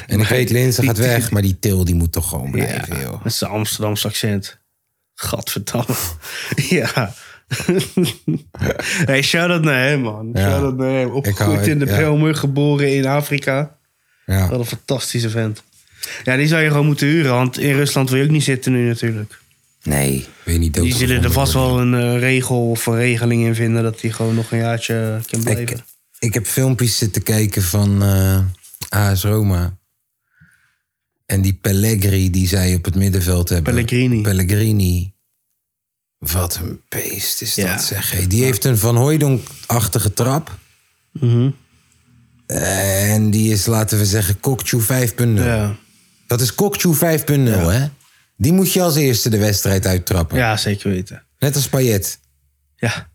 en ik weet, Linse gaat weg, maar die Til die moet toch gewoon blijven, joh.
Met zijn Amsterdamse accent. Gadverdamme. <laughs> ja. <laughs> hey, shout-out naar hem, man.
Ja.
Shout-out naar hem.
hou-
Opgegroeid
ik-
in de
ja.
Belmer, geboren in Afrika. Wat
Ja.
een fantastische vent. Ja, die zou je gewoon moeten huren, want in Rusland wil je ook niet zitten nu natuurlijk.
Nee, weet niet
Die zullen er vast wel een eh, regel of een regeling in vinden dat hij gewoon nog een jaartje kan
Ik,
blijven.
ik heb filmpjes zitten kijken van eh AS Roma. En die Pellegri die zij op het middenveld hebben.
Pellegrini.
Pellegrini. Wat een beest is
Ja.
dat, zeg. Hey, die heeft een Van Hooijdonk-achtige trap.
Mhm.
En die is, laten we zeggen, Kokchu 5.0.
ja.
Dat is Kokchu 5.0, hè? Die moet je als eerste de wedstrijd uittrappen.
ja, zeker weten.
Net als Payet.
Ja.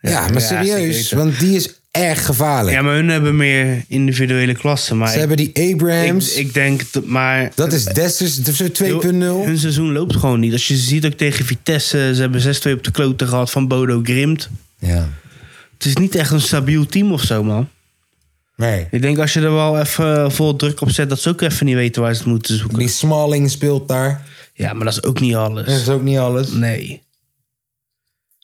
Ja, maar
ja, zeker
serieus,
weten.
want die is erg gevaarlijk.
ja, maar hun hebben meer individuele klassen. Maar
Ze hebben die
ik,
Abrahams.
ik denk dat maar...
dat is Dessers
Heel-
2.0.
Hun seizoen loopt gewoon niet. Als je ziet ook tegen Vitesse, ze hebben 6-2 op de kloten gehad van Bodo Grimt.
Ja.
Het is niet echt een stabiel team of zo, man.
Nee.
Ik denk als je er wel even eh, vol druk op zet, dat ze ook even niet weten waar ze het moeten zoeken.
Die Smalling speelt daar.
Ja, maar dat is ook niet
Dat
alles.
is ook niet alles.
Nee.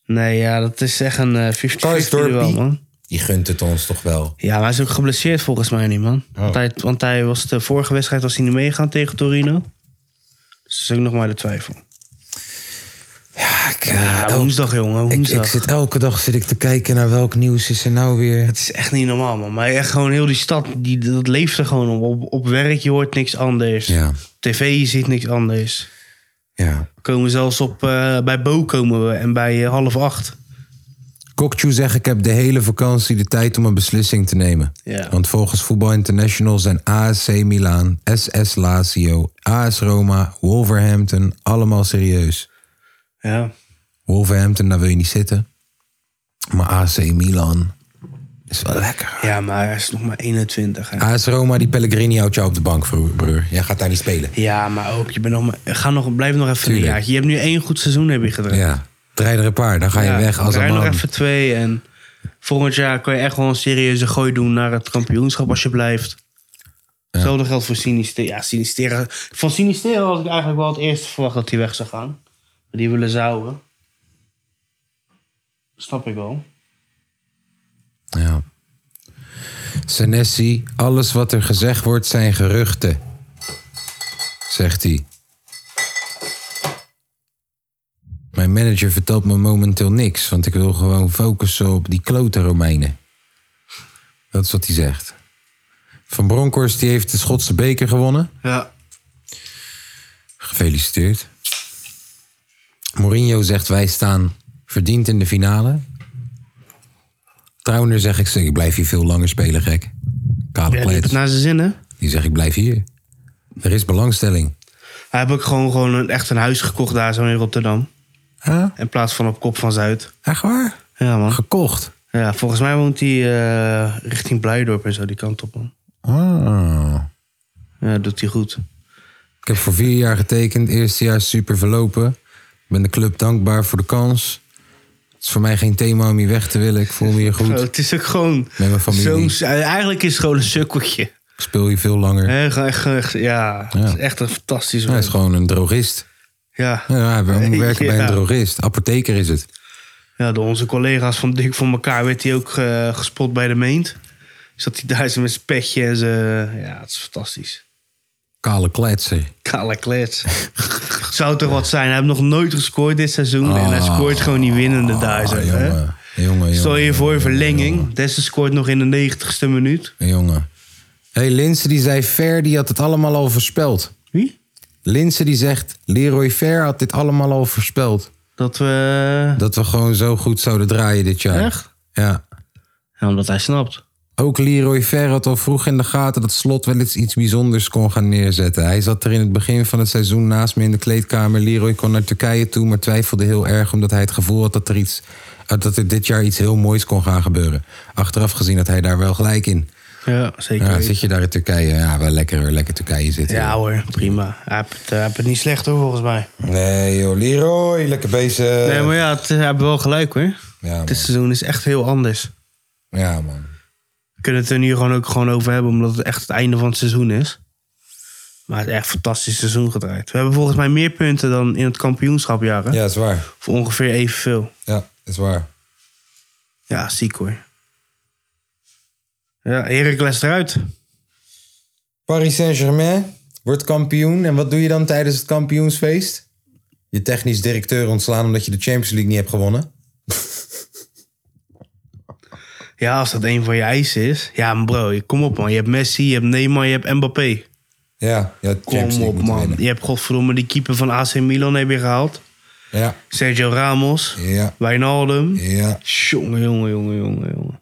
Nee, ja, dat is echt een eh, 50-50
Karsdorp,
duel,
die-
man.
Die gunt het ons toch wel.
Ja, maar hij is ook geblesseerd volgens mij niet, man.
Oh.
Want, hij, want hij was de vorige wedstrijd was hij niet meegaan tegen Torino. Dus dat is ook nog maar de twijfel.
Ja, ik, eh,
Ja,
elk-
woensdag, jongen,
ik,
woensdag.
ik zit elke dag zit ik te kijken naar welk nieuws is er nou weer.
Het is echt niet normaal, man. Maar echt gewoon heel die stad, die, dat leeft er gewoon om. Op, op werk, je hoort niks anders.
Ja.
TV, je ziet niks anders.
Ja.
Komen zelfs op, eh, bij Bo komen we en bij eh, half acht.
Kokchu zegt, ik heb de hele vakantie de tijd om een beslissing te nemen.
Ja.
Want volgens Voetbal International zijn ASC Milaan, SS Lazio, AS Roma, Wolverhampton allemaal serieus.
Ja.
Wolverhampton, daar wil je niet zitten. Maar AC Milan is wel lekker.
ja, maar hij is nog maar 21. hè.
AS Roma, die Pellegrini houdt jou op de bank, broer. broer. Jij gaat daar niet spelen.
Ja, maar ook, je bent nog maar, ga nog, blijf nog even
Tuurlijk.
een jaartje. Je hebt nu één goed seizoen heb je gedraaid.
Ja, draai er een paar, dan ga je
Ja,
weg als
draai
een man.
nog even twee en volgend jaar kan je echt wel een serieuze gooi doen naar het kampioenschap als je blijft. Hetzelfde geldt voor Sinistera. Ja, Sinistera. Van Sinistera had ik eigenlijk wel het eerst verwacht dat hij weg zou gaan. Maar die willen zouden. Snap ik wel.
Ja. Senesi, alles wat er gezegd wordt zijn geruchten. Zegt hij. Mijn manager vertelt me momenteel niks, want ik wil gewoon focussen op die klote Romeinen. Dat is wat hij zegt. Van Bronckhorst die heeft de Schotse beker gewonnen.
Ja.
Gefeliciteerd. Mourinho zegt wij staan verdiend in de finale. Trouwner zeg ik, ik blijf hier veel langer spelen, gek. Kale
Ja, die nou- heeft
Pleits,
het naar zijn zin, hè?
die zeg ik blijf hier. Er is belangstelling.
Hij heeft ook gewoon, gewoon een, echt een huis gekocht daar zo in Rotterdam.
Huh?
In plaats van op Kop van Zuid.
Echt waar?
Ja, man.
Gekocht.
Ja, volgens mij woont hij eh, richting Blijdorp en zo, die kant op, man.
Ah.
Ja, doet hij goed.
Ik heb voor vier jaar getekend. Eerste jaar is super verlopen. Ik ben de club dankbaar voor de kans. Het is voor mij geen thema om hier weg te willen. Ik voel me hier
Oh,
goed.
het is ook gewoon
Met mijn familie.
zo'n... eh, Eigenlijk is het gewoon een sukkeltje.
Ik speel hier veel langer.
Hè, gewoon echt- echt- ja, het is echt een fantastisch
Hij is
woord.
gewoon een drogist.
<laughs> Ja,
Ja, we moeten werken bij
Ja.
een drogist. Apotheker is het.
ja, door onze collega's van Dik voor elkaar werd hij ook eh, gespot bij de meent. Dus Zat hij daar zo met zijn petje en zijn... Ja, het is fantastisch.
Kale kletser.
Kale
<laughs>
klets. Zou toch wat zijn? Hij heeft nog nooit gescoord dit seizoen. en hij
Ah.
scoort gewoon die winnende daar. zo,
Ah,
hè?
jongen. Jongen,
Stel je
jongen,
voor
jongen,
verlenging. Dessen scoort nog in de 90ste minuut.
jongen, Jongen. Hé, hey, Linse die zei Fer, die had het allemaal al voorspeld.
Wie?
Linse die zegt, Leroy Fer had dit allemaal al voorspeld.
Dat we... eh,
Dat we gewoon zo goed zouden draaien dit jaar.
Echt?
Ja.
Ja, omdat hij snapt.
Ook Leroy Fer had al vroeg in de gaten dat Slot wel eens iets bijzonders kon gaan neerzetten. Hij zat er in het begin van het seizoen naast me in de kleedkamer. Leroy kon naar Turkije toe, maar twijfelde heel erg omdat hij het gevoel had dat er, iets, eh, dat er dit jaar iets heel moois kon gaan gebeuren. Achteraf gezien had hij daar wel gelijk in.
Ja, zeker.
Ja,
weten.
zit je daar in Turkije? Ja, wel lekker hoor. Lekker Turkije zitten.
Ja hoor, prima. Hij heeft het, hij heeft het niet slecht hoor, volgens mij.
Nee joh, Leroy, lekker bezig.
Nee, maar ja, het, hij heeft wel gelijk hoor.
Ja, man.
Dit seizoen is echt heel anders.
Ja man.
We kunnen het er nu gewoon ook gewoon over hebben, omdat het echt het einde van het seizoen is. Maar het is echt een fantastisch seizoen gedraaid. We hebben volgens mij meer punten dan in het kampioenschapjaar. hè?
Ja, is waar.
Of ongeveer evenveel.
Ja, is waar.
Ja, ziek hoor. Ja, Heracles eruit.
Paris Saint-Germain wordt kampioen. En wat doe je dan tijdens het kampioensfeest? Je technisch directeur ontslaan omdat je de Champions League niet hebt gewonnen.
Ja, als dat een van je eisen is. Ja, maar bro, kom op man. Je hebt Messi, je hebt Neymar, je hebt Mbappé.
Ja, ja de Champions
Kom
League
op
moeten
man.
winnen.
Je hebt godverdomme die keeper van AC Milan heb je gehaald.
Ja,
Sergio Ramos.
ja,
Wijnaldum.
ja,
Jongen, jongen, jongen, jongen, jongen.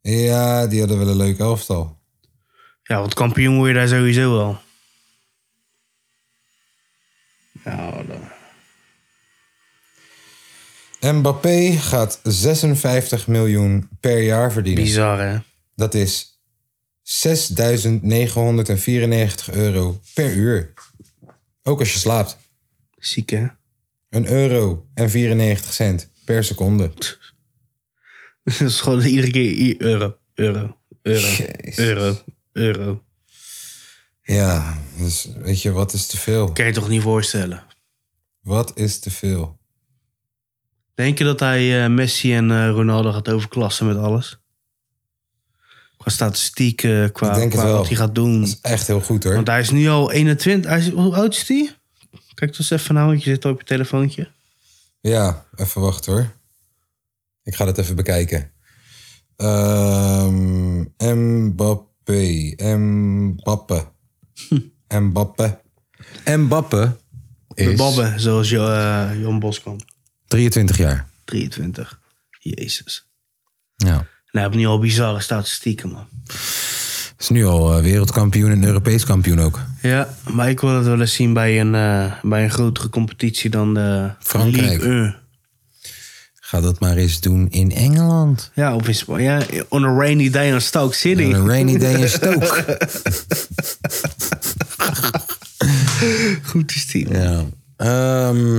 ja, die hadden wel een leuke elftal.
Ja, want kampioen word je daar sowieso wel. Ja, dan.
Mbappé gaat 56 miljoen per jaar verdienen.
bizar hè.
Dat is 6.994 euro per uur. Ook als je slaapt.
Ziek hè. <laughs>
Een euro en 94 cent per seconde.
Dat is gewoon iedere keer i- euro, euro, euro,
Jezus.
euro, euro.
Ja, dus weet je, wat is te veel?
Kan je toch niet voorstellen.
Wat is te veel?
Denk je dat hij eh, Messi en eh, Ronaldo gaat overklassen met alles? Qua statistiek, eh, qua,
Ik denk het
qua
wel.
wat hij gaat doen.
Dat is echt heel goed hoor.
Want hij is nu al 21. Hij is, hoe oud is hij? Kijk dus even nou, want je zit op je telefoontje.
Ja, even wachten hoor. Ik ga dat even bekijken. Ehm Mbappé. Mbappé. Mbappé. Mbappé
De
is
Babbe, zoals Jo- eh, Jan Boskamp.
23 jaar.
23. Jezus.
Ja.
Nou, heb ik nu al bizarre statistieken, man.
Is nu al eh, wereldkampioen en Europees kampioen ook.
Ja, maar ik wil het wel eens zien bij een, eh, bij een grotere competitie dan de
Frankrijk.
Ligue 1.
Ga dat maar eens doen in Engeland.
Ja, of in Spanje. Ja, on a rainy day in Stoke City.
On a rainy day in Stoke.
Goed is die. man.
<laughs> Ja. Ehm,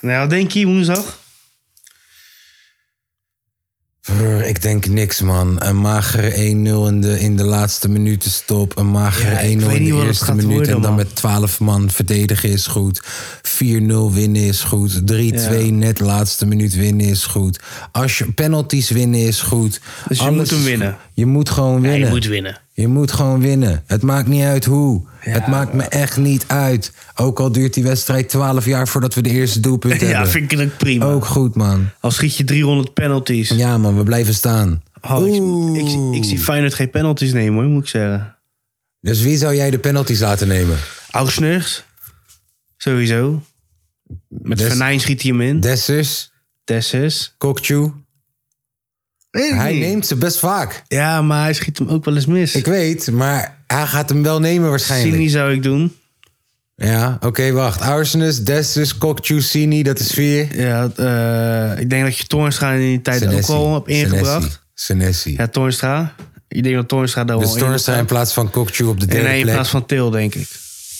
Nou, wat denk je woensdag?
brr, ik denk niks, man. Een magere 1-0 in de, in de laatste minuten stop. Een magere
Ja, ik
1-0
weet
in
niet
de
wat het
eerste
gaat
minuut.
worden,
en dan
man.
met 12 man verdedigen is goed. 4-0 winnen is goed. 3-2
Ja.
net laatste minuut winnen is goed. Als je penalties winnen is goed.
Dus je
Alles
moet hem
is
winnen.
goed. Je moet gewoon winnen.
Ja, je moet winnen.
Je moet gewoon winnen. Het maakt niet uit hoe. het maakt me echt niet uit. Ook al duurt die wedstrijd 12 jaar voordat we de eerste doelpunt hebben.
<laughs> Ja, vind ik het ook prima.
Ook goed, man.
Al schiet je 300 penalties.
Ja, man, we blijven staan.
Oh, ik, ik,
Oeh.
ik zie Feyenoord geen penalties nemen, hoor, moet ik zeggen.
Dus wie zou jij de penalties laten nemen?
Augsburgs. Sowieso. Met
Des-
Vernijn schiet hij hem in.
Dessers,
Dessus.
Kokchu. Hij neemt ze best vaak.
Ja, maar hij schiet hem ook wel eens mis.
Ik weet, maar hij gaat hem wel nemen waarschijnlijk.
Sini zou ik doen.
Ja, oké, wacht. Arsenis, Dessers, Kokchu, Sini, dat is vier.
Ja, eh, ik denk dat je Toornstra in die tijd
Senesi,
ook al hebt ingebracht.
Senesi, Senesi.
Ja, Toornstra. Ik denk dat Toornstra daar
Dus
wel in
Tornstra in
heeft.
plaats van Kokchu op de
En
derde
hij in
plek.
plaats van Til, denk ik.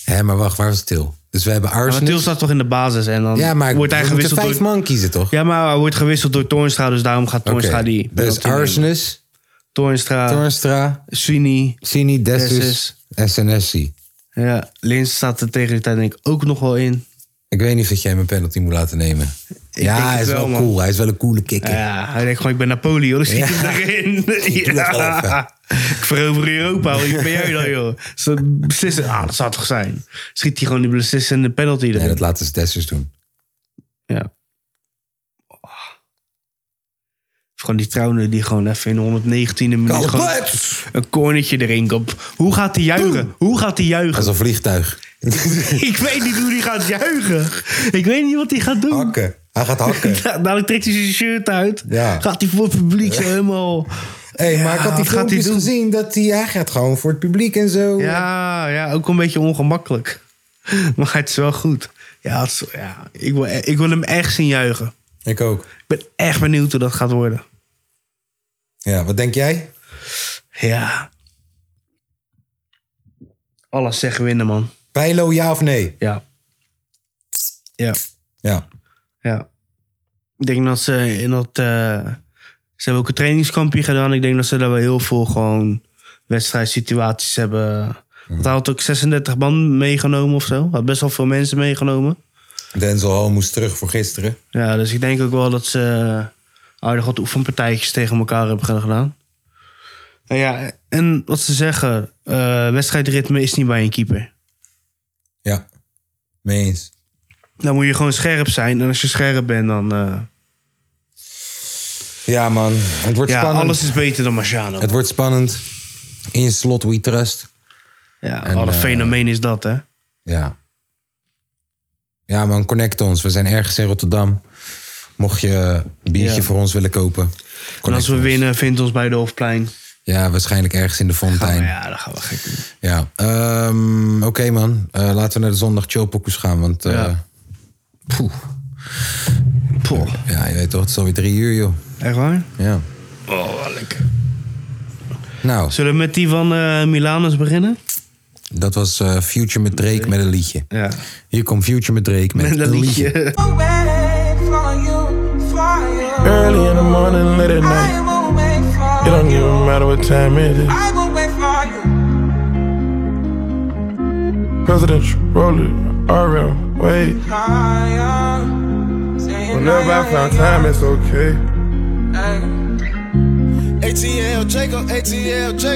Hé, maar wacht, waar was Til? Dus we hebben
Maar Til
Arsenis.
staat toch in de basis en dan
Ja, maar
wordt hij
we moeten
gewisseld
vijf
door...
man kiezen, toch?
Ja, maar hij wordt gewisseld door Toornstra, dus daarom gaat Toornstra die...
Dus
penalty nemen. Ah.
Arsenis,
Toornstra,
Tornstra,
Sweeney.
Sini, Dessus,
Dessus.
SNSI.
Ja, Lins staat er tegen die tijd denk ik ook nog wel in.
Ik weet niet of dat jij mijn penalty moet laten nemen.
denk
ja, hij
het
is wel,
wel, man.
cool. Hij is wel een coole kikker.
Ja, hij denkt gewoon, ik ben Napoli, hoor. Dan schiet
Ja.
hem
<laughs>
erin.
doe dat wel even.
Ja. Ik verover Europa, hoor. Wie ben jij dan, joh? Zo beslissen. Ah, dat zou toch zijn. Schiet hij gewoon die beslissende penalty erin.
Nee, dat laten ze Dessus doen.
Ja. Of gewoon die trouwne die gewoon even in de 119e minuut
Kalle
gewoon
Plex!
een cornetje erin komt. Hoe gaat hij juichen? Hoe gaat hij
Als
juichen?
een vliegtuig.
<laughs> Ik weet niet hoe hij gaat juichen. Oh. Ik weet niet wat hij gaat doen.
hakken. Hij gaat hakken.
<laughs> Ja, <laughs> dadelijk trekt hij zijn shirt uit.
Ja.
Gaat hij voor het publiek zo helemaal...
Hey, maar ik
Ja,
had die
wat gaat hij
filmpjes
doen?
gezien dat hij, hij gaat gewoon voor het publiek en zo.
Ja, ja, ook een beetje ongemakkelijk. <laughs> Maar het is wel goed. Ja, het is- ja ik, wil, e- ik wil hem echt zien juichen.
Ik ook.
Ik ben echt benieuwd hoe dat gaat worden.
Ja, wat denk jij?
Ja. Alles zeggen winnen, man.
Bijlo ja of nee?
Ja. Ja.
Ja.
Ja. Ik denk dat ze in dat... eh, ze hebben ook een trainingskampje gedaan. Ik denk dat ze daar wel heel veel gewoon wedstrijdsituaties
Mhm.
hebben... Want hij had ook 36 man meegenomen of zo. Hij had best wel veel mensen meegenomen.
Denzel Hall moest terug voor gisteren.
Ja, dus ik denk ook wel dat ze eh, aardig wat oefenpartijtjes tegen elkaar hebben gedaan. Nou ja, en wat ze zeggen, eh, wedstrijdritme is niet bij een keeper.
Ja. Mee eens.
Dan moet je gewoon scherp zijn. En als je scherp bent, dan... eh,
Ja, man. Het wordt
ja,
spannend.
alles is beter dan Marciano.
Het wordt spannend. In slot we trust.
ja,
en,
wat een
eh,
fenomeen is dat, hè?
Ja. Ja, man, connect ons. We zijn ergens in Rotterdam. Mocht je een biertje
Ja.
voor ons willen kopen.
En
connect
als we
ons.
winnen, vindt ons bij de Hofplein.
Ja, waarschijnlijk ergens in de
Nou
fontein. Ja.
ja, dan gaan we gek doen.
Ehm, Oké, man. Eh, laten we naar de zondag chillpokoes gaan. Want eh, ja.
Ja. Poh,
je weet toch, het is alweer drie uur, joh.
echt waar?
Ja.
Oh, wel lekker.
Nou,
Zullen we met die van eh Milanus beginnen?
dat was eh, Future met Drake met een liedje.
Ja.
Hier komt Future met Drake met,
Met dat liedje.
Early in the morning, late at night. It don't even matter what time it is. Presidential roller, RM, wait. Whenever I found time, it's okay.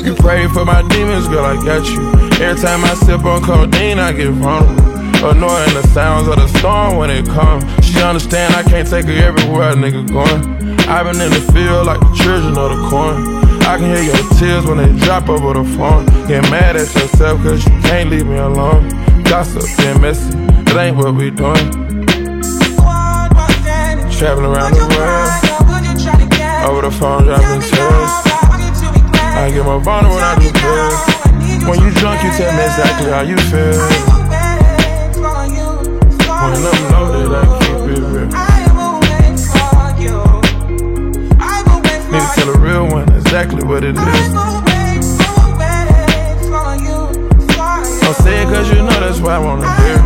You pray for my demons, girl, I got you. Every time I sip on codeine, I get vulnerable. Annoying the sounds of the storm when it comes. She understand I can't take her everywhere, a nigga going. I've been in the field like the children of the corn. I can hear your tears when they drop over the phone. Get mad at yourself cause you can't leave me alone.
Gossip, getting messy. That ain't what we doing. Traveling around the world. Over the phone, driving tests. I get more vulnerable when I do drugs. When you drunk, you tell me exactly how you feel. When I'm loaded, I keep it real. Need to tell a real one exactly what it is. Don't say it cause you know that's why I wanna hear. it.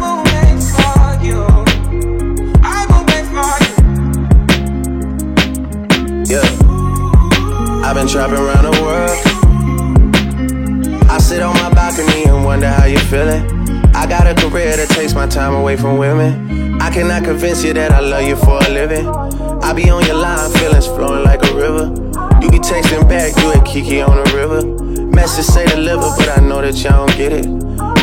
Yeah. I've been trapping around the world. I sit on my balcony and wonder how you're feeling. I got a career that takes my time away from women. I cannot convince you that I love you for a living. I be on your line, feelings flowing like a river. You be texting back, you and Kiki on the river. Message say deliver, but I know that y'all don't get it.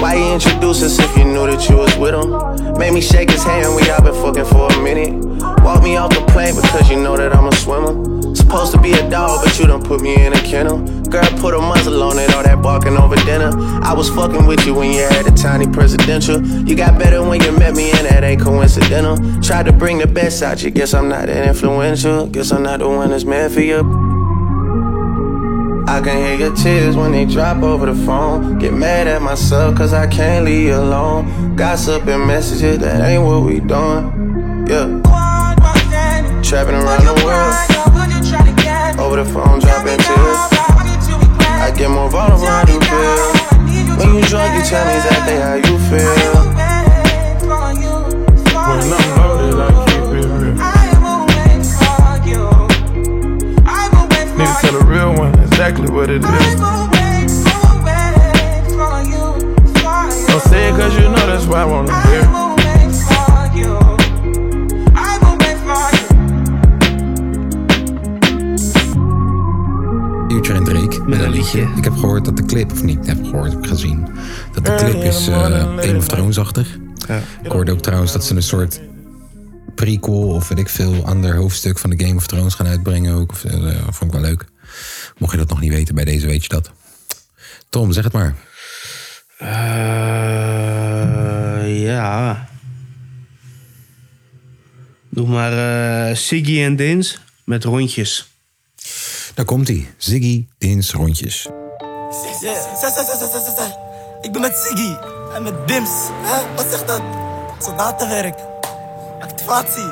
Why you introduce us if you knew that you was with him? Made me shake his hand, we all been fucking for a minute. Walk me off the plane because you know that I'm a swimmer. Supposed to be a dog, but you done put me in a kennel. Girl, put a muzzle on it, all that barking over dinner. I was fucking with you when you had a tiny presidential. You got better when you met me, and that ain't coincidental. Tried to bring the best out you, guess I'm not that influential. Guess I'm not the one that's meant for you. I can hear your tears when they drop over the phone. Get mad at myself cause I can't leave you alone. Gossip and messages, that ain't what we doing. Yeah. Trapping around the world. Over the phone, dropping tears. I get more vulnerable, I do feel. When you drunk, you tell me exactly how you feel.
When I'm loaded, I keep it real. Need to tell a real one exactly what it is. Don't say it cause you know that's why I wanna hear. it.
Future en Drake met een liedje. Ik heb gehoord dat de clip, of niet, heb gehoord, heb gezien. Dat de clip is eh Game of Thrones-achtig. Ik hoorde ook trouwens dat ze een soort prequel of weet ik veel ander hoofdstuk van de Game of Thrones gaan uitbrengen ook. Of, eh, vond ik wel leuk. Mocht je dat nog niet weten, bij deze weet je dat. Tom, zeg het maar.
Eh, ja. Doe maar eh, Siggy en Dins met rondjes.
Daar komt hij. Ziggy Dins rondjes.
Zij, zij, zij, zij, zij, zij, zij. Ik ben met Siggy en met Bims. Hè? Wat zegt dat? Soldatenwerk. Activatie.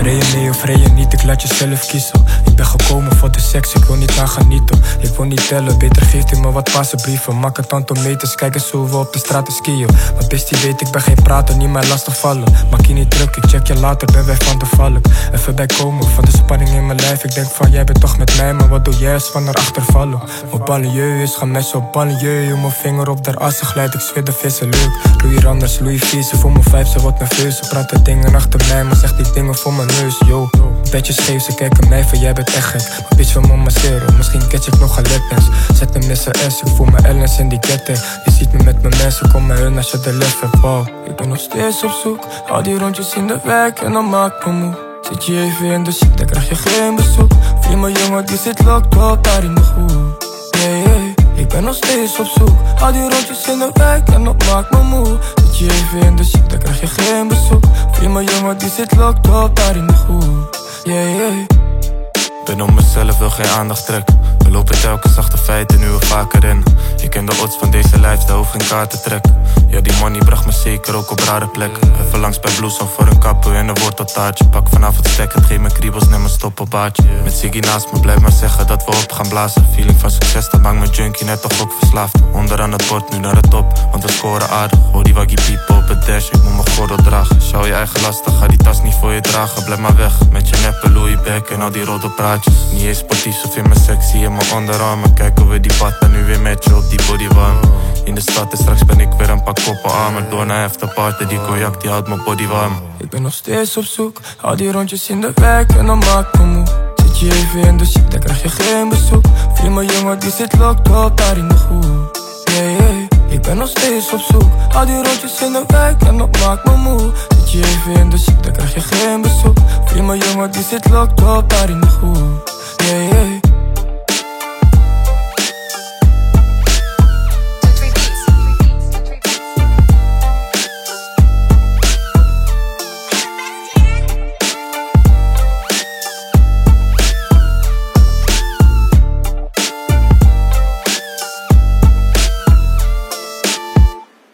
Rij je mee of rij je niet, ik laat je zelf kiezen. Ik ben gekomen voor de seks, ik wil niet gaan genieten. Ik wil niet tellen, beter geeft u me wat passenbrieven. Maak een aantal meters, kijk eens hoe we op de straten skiën. Mijn bestie weet, ik ben geen prater, niet meer lastig vallen. Maak je niet druk, ik check je later, ben wij van de valk. Even bijkomen van de spanning in mijn lijf. Ik denk van jij bent toch met mij, maar wat doe jij als van erachter vallen? Op banlieue is gaan messen op banlieue. Mijn vinger op der assen glijdt, ik zweer de vissen leuk. Louis Randers, Louis Vies, ze voel mijn vijf, ze wordt nerveus. Ze praat de dingen achter mij, maar zegt die dingen voor mijn neus, yo. Bedjes geef, ze kijken mij van jij bent echt gek. Maar bitch van mama zero, misschien catch ik nog een lapdance. Zet hem in zijn S, ik voel me Ellens in die ketting. Je ziet me met mijn mensen, kom maar hun als je de lef hebt, wow. Ik ben nog steeds op zoek, al die rondjes in de wijk en dan maak me moe. Zit je even in de shit, dan krijg je geen bezoek. Vrienden jongen, die zit locked up daar in de groep. Hey, hey, ik ben nog steeds op zoek. Al die rondjes in de wijk en dat maakt me moe. Zit je even in de shit, dan krijg je geen bezoek. Vrienden jongen, die zit locked up daar in de groep. Yeah, yeah.
Ben om mezelf, wil geen aandacht trek. We lopen telkens achter feiten, nu we vaker in. Ik ken de odds van deze lifestyle, hoef geen kaart te trekken. Ja, die money bracht me zeker ook op rare plekken. Even langs bij Bloesem voor een kapper en een worteltaartje. Pak vanavond stek, het geeft me kriebels, neem een stoppelbaardje. Met Ziggy naast me, blijf maar zeggen dat we op gaan blazen. Feeling van succes, dat maakt me junkie net toch ook verslaafd. Onderaan het bord, nu naar de top, want we scoren aardig. Hoor die waggy piepen op het dash, ik moet mijn gordel dragen. Sjouw je eigen lastig, ga die tas niet voor je dragen. Blijf maar weg, met je neppe Louis Beck en al die rode praatjes. Niet eens sportief, ze vinden me sexy in mijn onderarmen. Kijken we die pad en nu weer met je op die body warm. In de stad en straks ben ik weer een paar koppen armer. Door naar afterparty, die cognac die houdt mijn body warm.
Ik ben nog steeds op zoek, al die rondjes in de wijk en dan maakt me moe. Zit je even in de shit, dan krijg je geen bezoek. Vrienden jongen, die zit locked up daar in de groep. Yeah, yeah. Ik ben nog steeds op zoek, al die rondjes in de wijk en dat maakt me moe. Zit je even in de shit, dan krijg je geen bezoek. Vrienden jongen, die zit locked up daar in de groep. Yeah, yeah.
Repeat.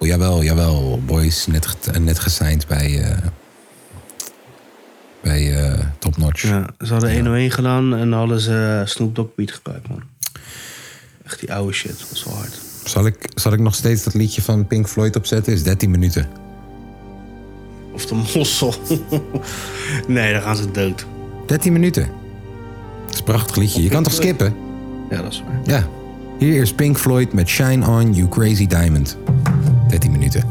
Oh, jawel, jawel. Boys net, get- net gesigned bij, eh, bij eh, Top Notch.
Ja, ze hadden 101 gedaan en hadden ze Snoop Dogg beat gebruikt, man. Echt die oude shit, dat was wel hard.
Zal, ik, zal ik nog steeds dat liedje van Pink Floyd opzetten? Is 13 minuten.
Of de mossel. <laughs> nee, dan gaan ze dood.
13 minuten. Dat is een prachtig liedje. Je kan toch skippen?
Ja, dat is waar.
Ja. Hier is Pink Floyd met Shine On You Crazy Diamond. 13 minuten.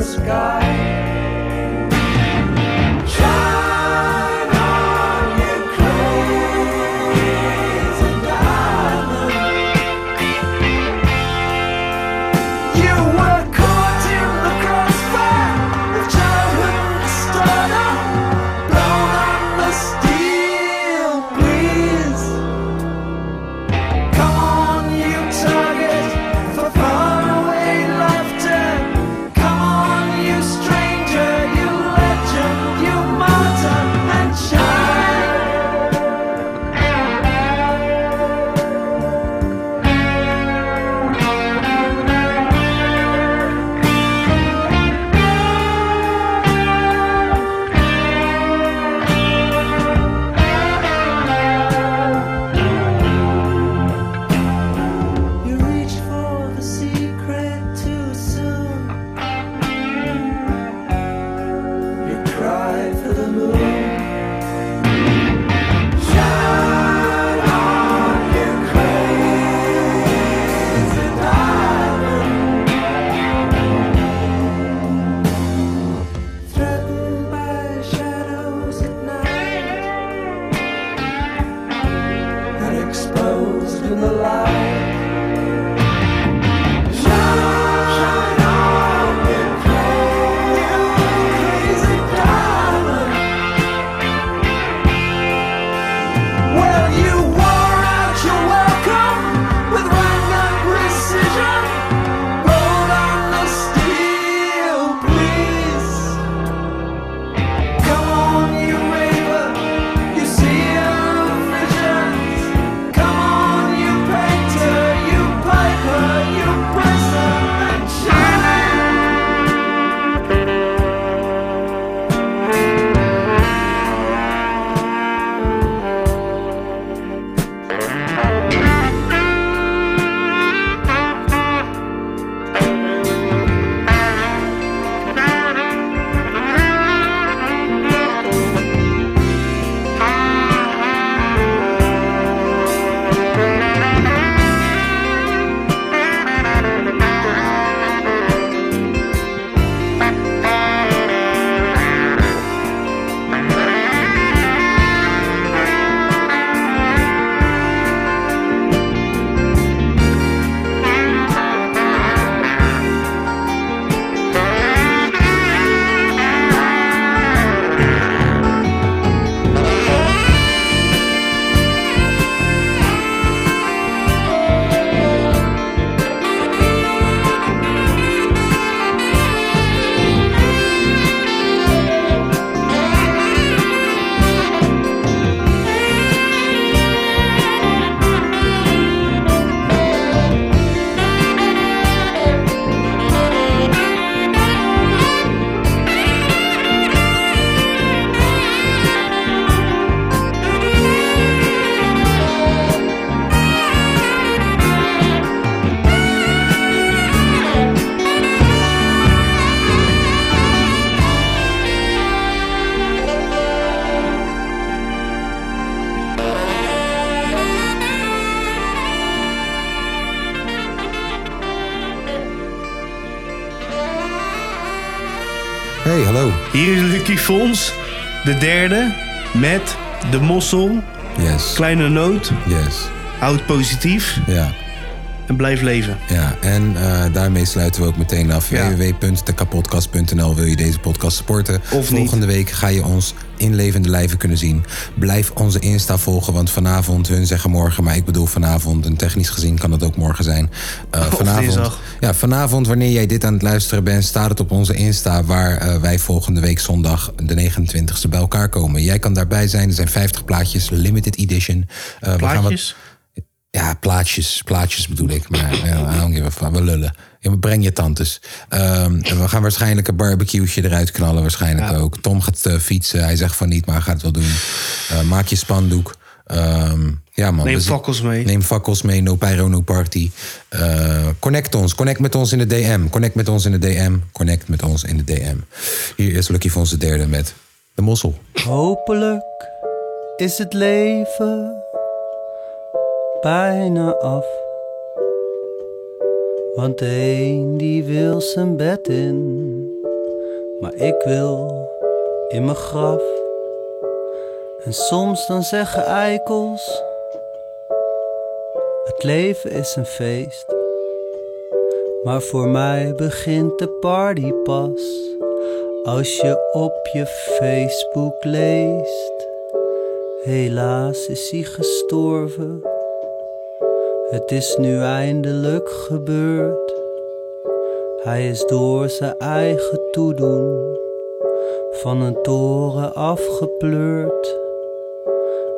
sky. Shine on, you crazy diamond. You were caught in the crossfire of childhood starter, blown on the steel, please. Come on, you target for faraway laughter. Come on, you stranger, you legend, you martyr, and shine. You reach for the secret too soon. You cry for the moon. Shine on, you crazy diamond. Threatened by shadows at night and exposed in the light. Well, you wore out your welcome with random precision. Roll on the steel, please. Come on, you raver, you seer of visions. Come on, you painter, you piper, you prism and
Hey, hallo.
Hier is Lucky Fons, de derde, met De Mossel.
Yes.
Kleine Noot.
Yes.
Houd positief.
Ja.
En blijf leven.
Ja, en eh, daarmee sluiten we ook meteen af.
Ja.
www.dekapodcast.nl wil je deze podcast supporten. Volgende week ga je ons in levende lijven kunnen zien. Blijf onze Insta volgen, want vanavond, hun zeggen morgen, maar ik bedoel vanavond. En technisch gezien kan het ook morgen zijn. Eh, vanavond,
dinsdag.
ja, vanavond, wanneer jij dit aan het luisteren bent, staat het op onze Insta. Waar eh, wij volgende week zondag, de 29e, bij elkaar komen. Jij kan daarbij zijn. Er zijn 50 plaatjes, limited edition. Eh, we gaan wat-
Plaatjes.
ja, plaatjes, plaatjes bedoel ik. Maar eh, I don't give a fuck. we lullen. Ja, maar breng je tantes. Ehm, en we gaan waarschijnlijk een barbecue'tje eruit knallen. Waarschijnlijk ook. Tom gaat eh, fietsen. Hij zegt van niet, maar hij gaat het wel doen. Eh, maak je spandoek. Ehm, ja, man.
Neem
we zien-
fakkels mee.
Neem fakkels mee. No pyro, no party. Eh, connect ons. Connect met ons in de DM. Connect met ons in de DM. Connect met ons in de DM. Hier is Lucky Fons de derde met de mossel.
Hopelijk is het leven bijna af. Want de een die wil zijn bed in, maar ik wil in mijn graf. En soms dan zeggen eikels: Het leven is een feest. Maar voor mij begint de party pas als je op je Facebook leest. Helaas is hij gestorven. Het is nu eindelijk gebeurd. Hij is door zijn eigen toedoen van een toren afgepleurd.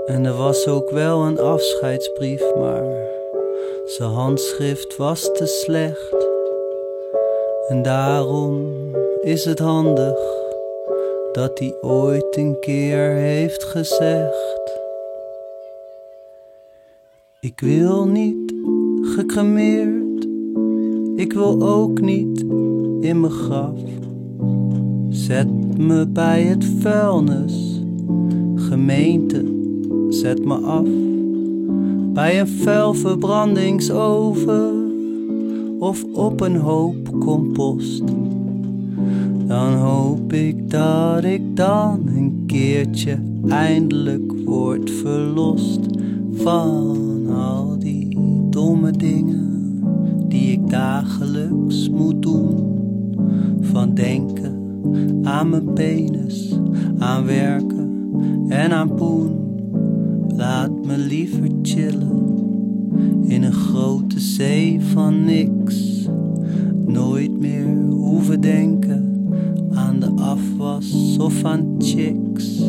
En er was ook wel een afscheidsbrief, maar zijn handschrift was te slecht. En daarom is het handig dat hij ooit een keer heeft gezegd: Ik wil niet gecremeerd, ik wil ook niet in mijn graf. Zet me bij het vuilnis, gemeente, zet me af. Bij een vuil verbrandingsoven of op een hoop compost. Dan hoop ik dat ik dan een keertje eindelijk word verlost van al die domme dingen die ik dagelijks moet doen. Van denken aan mijn penis, aan werken en aan poen. Laat me liever chillen in een grote zee van niks. Nooit meer hoeven denken aan de afwas of aan chicks.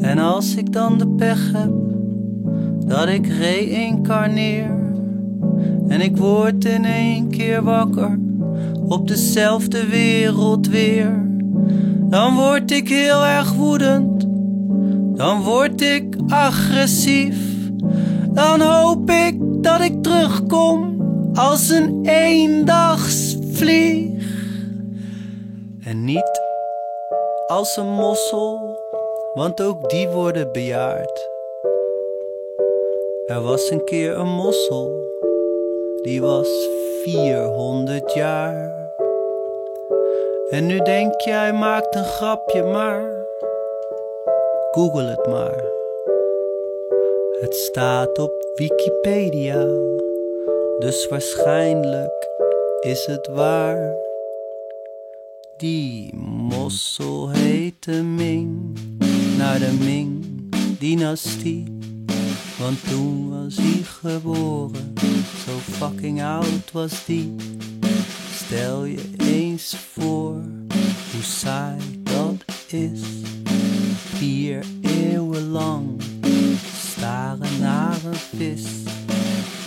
En als ik dan de pech heb dat ik reïncarneer en ik word in één keer wakker op dezelfde wereld weer, dan word ik heel erg woedend. Dan word ik agressief. Dan hoop ik dat ik terugkom als een eendagsvlieg. En niet als een mossel, want ook die worden bejaard. Er was een keer een mossel, die was 400 jaar. En nu denk jij, hij maakt een grapje, maar Google het maar. Het staat op Wikipedia, dus waarschijnlijk is het waar. Die mossel heette Ming, naar de Ming-dynastie. Want toen was hij geboren, zo fucking oud was die. Stel je eens voor hoe saai dat is. Vier eeuwen lang staren naar een vis.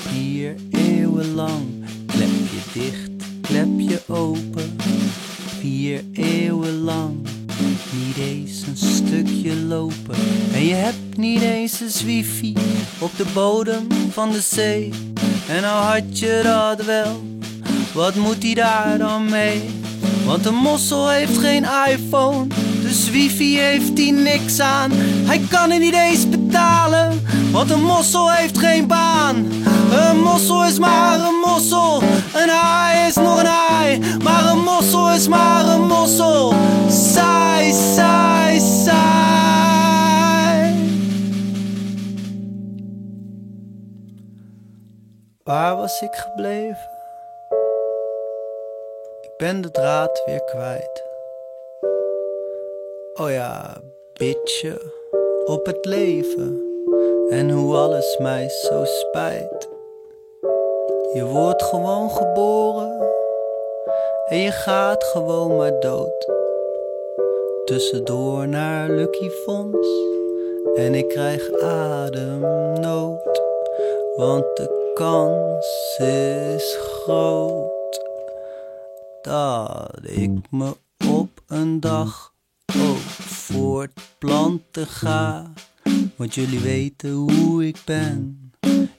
Vier eeuwen lang klep je dicht, klep je open. Vier eeuwen lang niet eens een stukje lopen. En je hebt niet eens eens wifi op de bodem van de zee. En al had je dat wel, wat moet hij daar dan mee? Want een mossel heeft geen iPhone, dus wifi heeft hij niks aan. Hij kan er niet eens betalen, want een mossel heeft geen baan. Een mossel is maar een mossel, een haai is nog een haai. Maar een mossel is maar een mossel, saai, saai, saai. Waar was ik gebleven? Ik ben de draad weer kwijt. Oh ja, bitje op het leven en hoe alles mij zo spijt. Je wordt gewoon geboren en je gaat gewoon maar dood. Tussendoor naar Lucky Fonds en ik krijg ademnood, want de kans is groot dat ik me op een dag ook voortplanten ga. Want jullie weten hoe ik ben.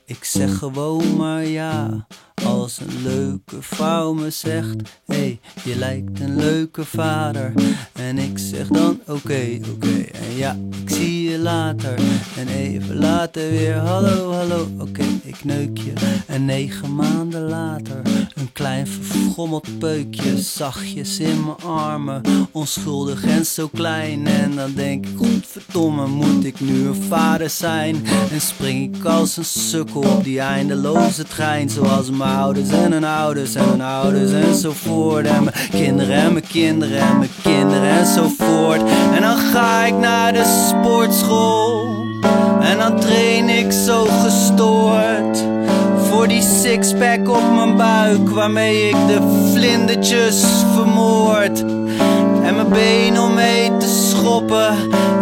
Ik zeg gewoon maar ja. Als een leuke vrouw me zegt: Hé, hey, je lijkt een leuke vader. En ik zeg dan: Oké, oké. En ja, ik zie je later. En even later weer, hallo, hallo, oké, ik neuk je. En negen maanden later, een klein verfrommeld peukje. Zachtjes in mijn armen, onschuldig en zo klein. En dan denk ik, godverdomme, moet ik nu een vader zijn? En spring ik als een sukkel op die eindeloze trein. Zoals mijn ouders en hun ouders en hun ouders en zo voort. En mijn kinderen en mijn kinderen en mijn kinderen en zo voort. En dan ga ik naar de sportschool. En dan train ik zo gestoord. Voor die sixpack op mijn buik, waarmee ik de vlindertjes vermoord. En mijn been om mee te schoppen.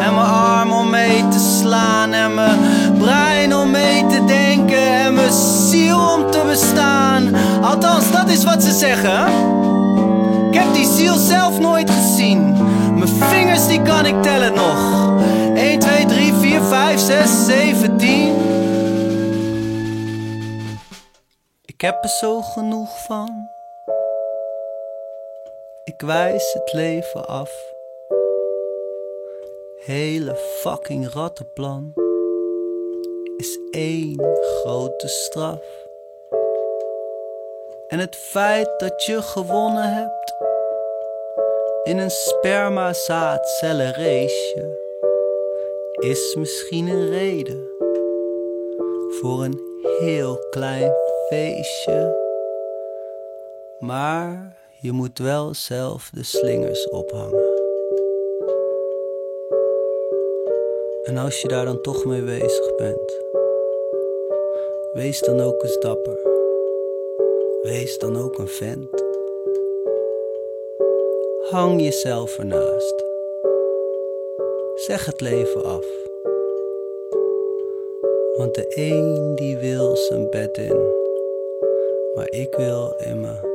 En mijn arm om mee te slaan. En mijn brein om mee te denken. En mijn ziel om te bestaan. Althans, dat is wat ze zeggen. Ik heb die ziel zelf nooit gezien. Mijn vingers die kan ik tellen nog. 1, 2, 3, 4, 5, 6, 7, 10. Ik heb er zo genoeg van. Ik wijs het leven af. Hele fucking rattenplan is één grote straf. En het feit dat je gewonnen hebt in een spermazaadcellenraceje is misschien een reden voor een heel klein feestje. Maar je moet wel zelf de slingers ophangen. En als je daar dan toch mee bezig bent, wees dan ook eens dapper. Wees dan ook een vent. Hang jezelf ernaast. Zeg het leven af. Want de een die wil zijn bed in, maar ik wil in mijn